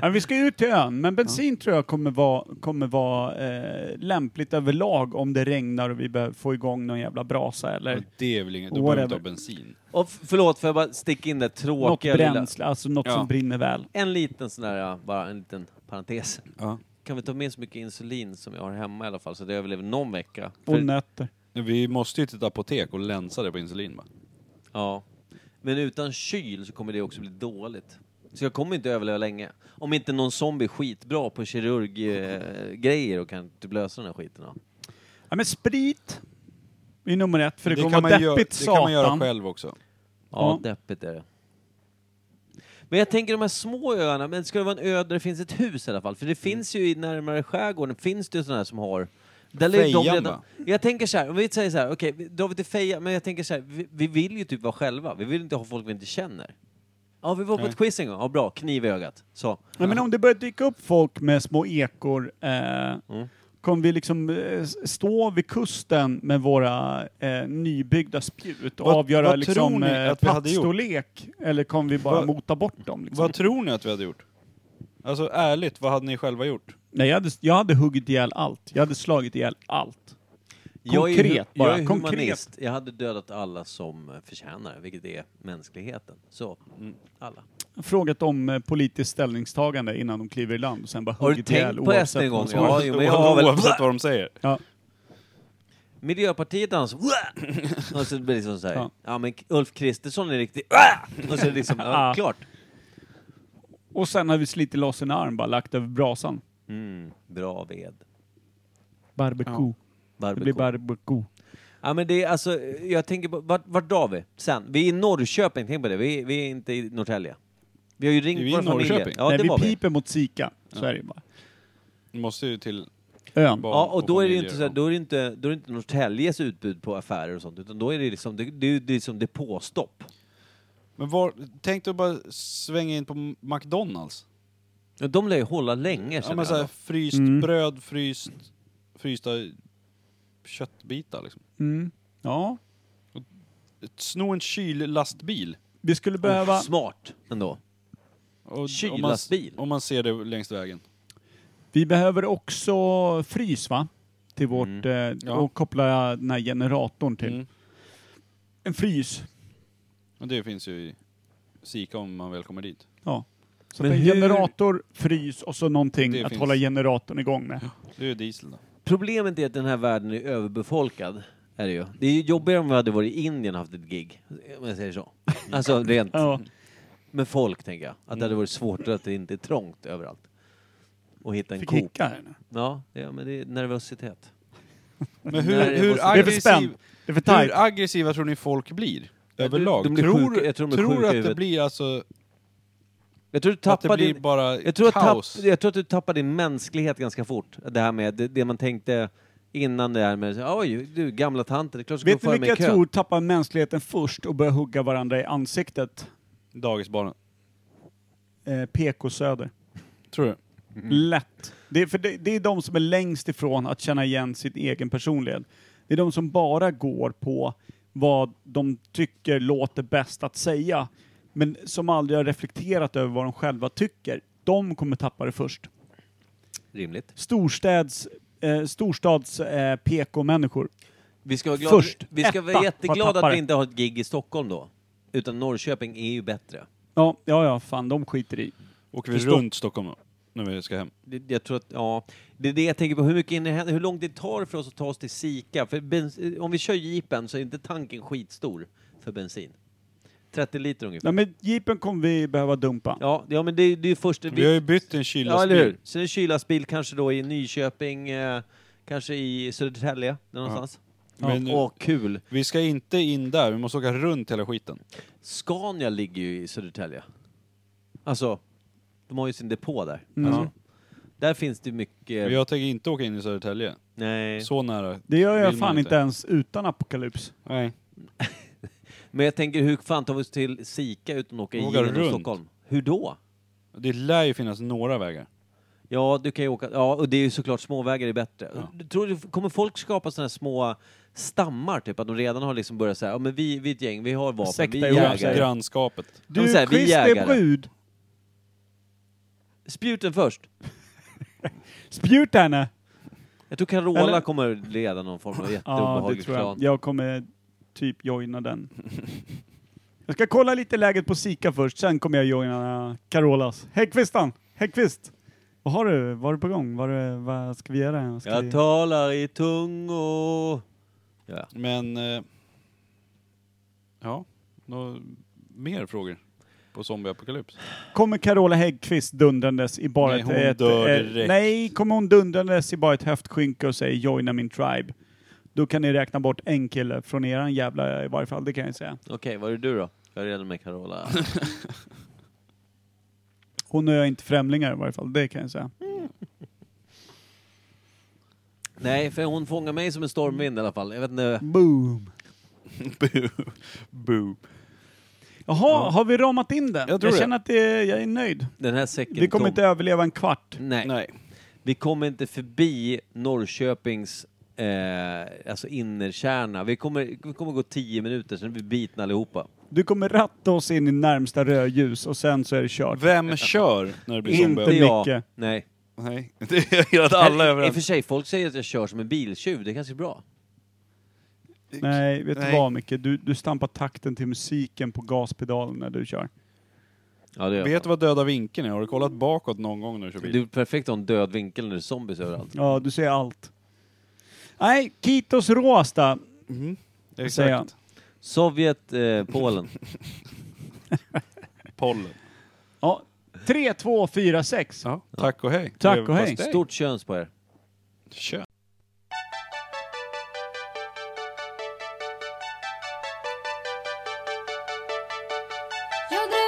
Ja, vi ska ju ut till ön, men bensin tror jag kommer vara, kommer vara eh, lämpligt överlag om det regnar och vi behöver få igång någon jävla brasa eller Och det är väl inget, då Whatever. behöver du inte ha bensin. Och f- förlåt, får jag bara sticka in det något tråkiga lilla. bränsle, alltså något Ja. som brinner väl. En liten sån där, ja, bara en liten parentes. Ja. Kan vi ta med så mycket insulin som jag har hemma i alla fall så att jag överlever någon vecka? Och För- nötter. Vi måste ju till ett apotek och länsa det på insulin bara. Ja. Men utan kyl så kommer det också bli dåligt. Så jag kommer inte överleva länge. Om inte någon zombie är skitbra på kirurggrejer eh, grejer och kan typ lösa den här skiten. Då. Ja, men sprit är nummer ett, för det, kan kommer man vara gö- deppigt Det kan man göra satan. själv också. Ja, Ja. deppigt är det. Men jag tänker de här små öarna, men ska det vara en ö där det finns ett hus i alla fall? För det Mm. finns ju i närmare skärgården, finns det ju sådana här som har... Där är Fejan, redan, va? jag tänker så här, om vi säger så här, okej, okay, drar vi till Feja, men jag tänker så här, vi, vi vill ju typ vara själva, vi vill inte ha folk vi inte känner. Ja, vi var på Nej. ett quiz en gång, ja bra, kniv i ögat. Så. Ja, men om det börjar dyka upp folk med små ekor, eh, Mm. kommer vi liksom eh, stå vid kusten med våra eh, nybyggda spjut och Vad- avgöra vad tror liksom ni eh, att vi hade gjort? platsstorlek? Eller kommer vi bara Vad- mota bort dem? Liksom? Vad tror ni att vi hade gjort? Alltså ärligt, vad hade ni själva gjort? Nej, jag hade, jag hade huggit ihjäl allt. Jag hade slagit ihjäl allt. Jag är, ju- Konkret bara, jag är konkret. humanist, jag hade dödat alla som eh, förtjänar, vilket är mänskligheten. Så, Mm. alla. Frågat om eh, politiskt ställningstagande innan de kliver i land och sen bara Har du huggit ihjäl tänkt på oavsett SD en vad gång? som- Ja, jo, men jag har väl... Oavsett vad de säger. Ja. Miljöpartiet dansar, "Wah!" och så blir det liksom så här. Ja. Ja. men Ulf Kristersson är riktigt, "Wah!" och så är det liksom, ja, Ja. klart. Och sen har vi slitit loss en arm bara, lagt över brasan. Mm, bra ved. Barbecue. Det Barbecue. blir barbecue. Ja men det är alltså, jag tänker på, vart, vart drar vi sen? Vi är i Norrköping, tänk på det. Vi, vi är inte i Norrtälje. Vi har ju ringt Är vi i våra familjer. Norrköping? Ja, Nej, det vi var vi. piper mot Sika. Så är det ju bara. Vi måste ju till Ön. barn Ja, och då är det ju inte, så familjer här, då är det inte, då är det inte Norrtäljes utbud på affärer och sånt, utan då är det liksom, det, det, är ju- det är liksom depåstopp. Men var, tänk dig att bara svänga in på McDonalds. Ja, De lär ju hålla länge Ja, känner men så här, jag. fryst Mm. bröd, fryst, frysta köttbitar liksom. Mm. Ja. Sno en kyllastbil. Vi skulle behöva... Behöva... Smart ändå. Och om man, Kyllastbil. om man ser det längs vägen. Vi behöver också frys va? Till vårt, eh, Ja. och koppla den här generatorn till. Mm. En frys. Men det finns ju i Sika om man väl kommer dit. Ja. Så Men att en hur- generator, frys och så någonting Det att finns. hålla generatorn igång med. Det är ju diesel då. Problemet är att den här världen är överbefolkad. Är det, ju. det är ju jobbigare om vi hade varit i Indien och haft ett gig, om jag säger så. Alltså rent Mm. Ja. Mm. med folk, tänker jag. Att det hade varit svårt att det inte är trångt överallt. Och hitta en Fick Coop. hicka här nu. Ja, ja, men det är nervositet. Men Nej, hur, det hur, måste- Det är för spänt. aggressiv, Det är för tajt. hur aggressiva tror ni folk blir? Överlag? de blir tror sjuka- jag tror tror, de är sjuka i att det huvudet. blir alltså... Jag tror du att det tappar blir din... bara Jag tror, att tapp, kaos? jag tror att du tappar din mänsklighet ganska fort. Det här med det, det man tänkte innan det här med oj, du gamla tanten, det är klart du ska gå Vet ni före vilka mig i jag kön. tror tappar mänskligheten först och börjar hugga varandra i ansiktet? Dagisbarnen. Eh, PK Söder. Tror du? Lätt. Det är, för det, det är de som är längst ifrån att känna igen sin egen personlighet. Det är de som bara går på vad de tycker låter bäst att säga, men som aldrig har reflekterat över vad de själva tycker. De kommer tappa det först. Rimligt. Storstäds, eh, storstads eh, PK-människor. Vi ska vara, glada, Först, vi ska etta, vara jätteglada vad att tappar vi det? inte har ett gig i Stockholm då. Utan Norrköping är ju bättre. Ja, ja, ja, fan, de skiter i. Åker vi Förstå- runt Stockholm då? När vi ska hem? Det, jag tror att, ja, det är det jag tänker på, hur, mycket in, hur långt det tar för oss att ta oss till Sika. För bens, om vi kör jeepen så är inte tanken skitstor för bensin. 30 liter ungefär. Nej, men jeepen kommer vi behöva dumpa. Ja, ja men det, det är ju först... Vi har ju bytt en kyllastbil. ja, eller hur? Sen är kylasbil kanske då i Nyköping, eh, kanske i Södertälje, där någonstans. Men Åh, kul! vi ska inte in där, vi måste åka runt hela skiten. Scania ligger ju i Södertälje. Alltså, de har ju sin depå där. Mm. Alltså, där finns det mycket... Men Jag tänker inte åka in i Södertälje. Nej. Så nära. Det gör jag Vill man fan inte. inte ens utan apokalyps. Nej. Men jag tänker, hur fan tar vi oss till Sika utan att åka Åka igenom runt. Stockholm? Hur då? Det lär ju finnas några vägar. Ja, du kan ju åka... Ja, och det är ju såklart småvägar är bättre. Du Tror du, kommer folk skapa sådana här små stammar, typ? Att de redan har liksom börjat säga, ja men vi, vi är ett gäng, vi har vapen, Sekta vi ihop är Grann- sig. jägare. Grannskapet. Ja, men så här, Du, vi Christer jägare. Brud, Spjuten först! spjut henne! Jag tror Carola Eller- kommer leda någon form av Ja, det jätteobehaglig tror jag. plan. Jag kommer typ joina den. Jag ska kolla lite läget på Sika först, sen kommer jag joina Carolas. Häggkvistan! Häggkvist! Vad har du? Vad har du på gång? Vad, har du, vad ska vi göra? Vad Ska vi... Jag talar i tungor. Ja. Men... Eh, ja, några mer frågor på zombieapokalyps? Kommer Carola Häggkvist dundrandes i bara Nej, ett... hon ett, dör eh, direkt. nej, kommer hon dundrandes i bara ett höftskynke och säger joina min tribe. Då kan ni räkna bort en kille från eran jävla i varje fall, det kan jag säga. Okej, vad är du då? Jag är redan med Carola. Hon och jag är inte främlingar i varje fall, det kan jag säga. Nej, för hon fångar mig som en stormvind i alla fall. Jag vet inte. Boom! Boo. Boo. Jaha, har vi ramat in den? Jag tror det. känner att det, jag är nöjd. Den här säcken Vi kommer tom. inte överleva en kvart. Nej. Nej. Vi kommer inte förbi Norrköpings eh, alltså innerkärna. Vi kommer, vi kommer gå tio minuter, sen är vi bitna allihopa. Du kommer ratta oss in i närmsta rödljus och sen så är det kört. Vem kör när det blir Inte Inte zombie? jag. mycket. Nej. Nej, det är att alla är I och för överens. sig, folk säger att jag kör som en biltjuv. Det kanske är bra. Nej, vet Nej. du vad Micke? Du, du stampar takten till musiken på gaspedalen när du kör. Ja, det gör Vet jag. du vad döda vinkeln är? Har du kollat bakåt någon gång när du kör bil? Du är perfekt att ha en död vinkel när det är zombies överallt. Ja, du ser allt. Nej, Kitos Råsta. Mm. säger jag. Exakt. Sovjet, eh, Polen. Pollen. Ja, 3246. Ja. Tack och hej. Tack Trevlig och hej. pastej. Stort köns på er. Kör. Jag drömde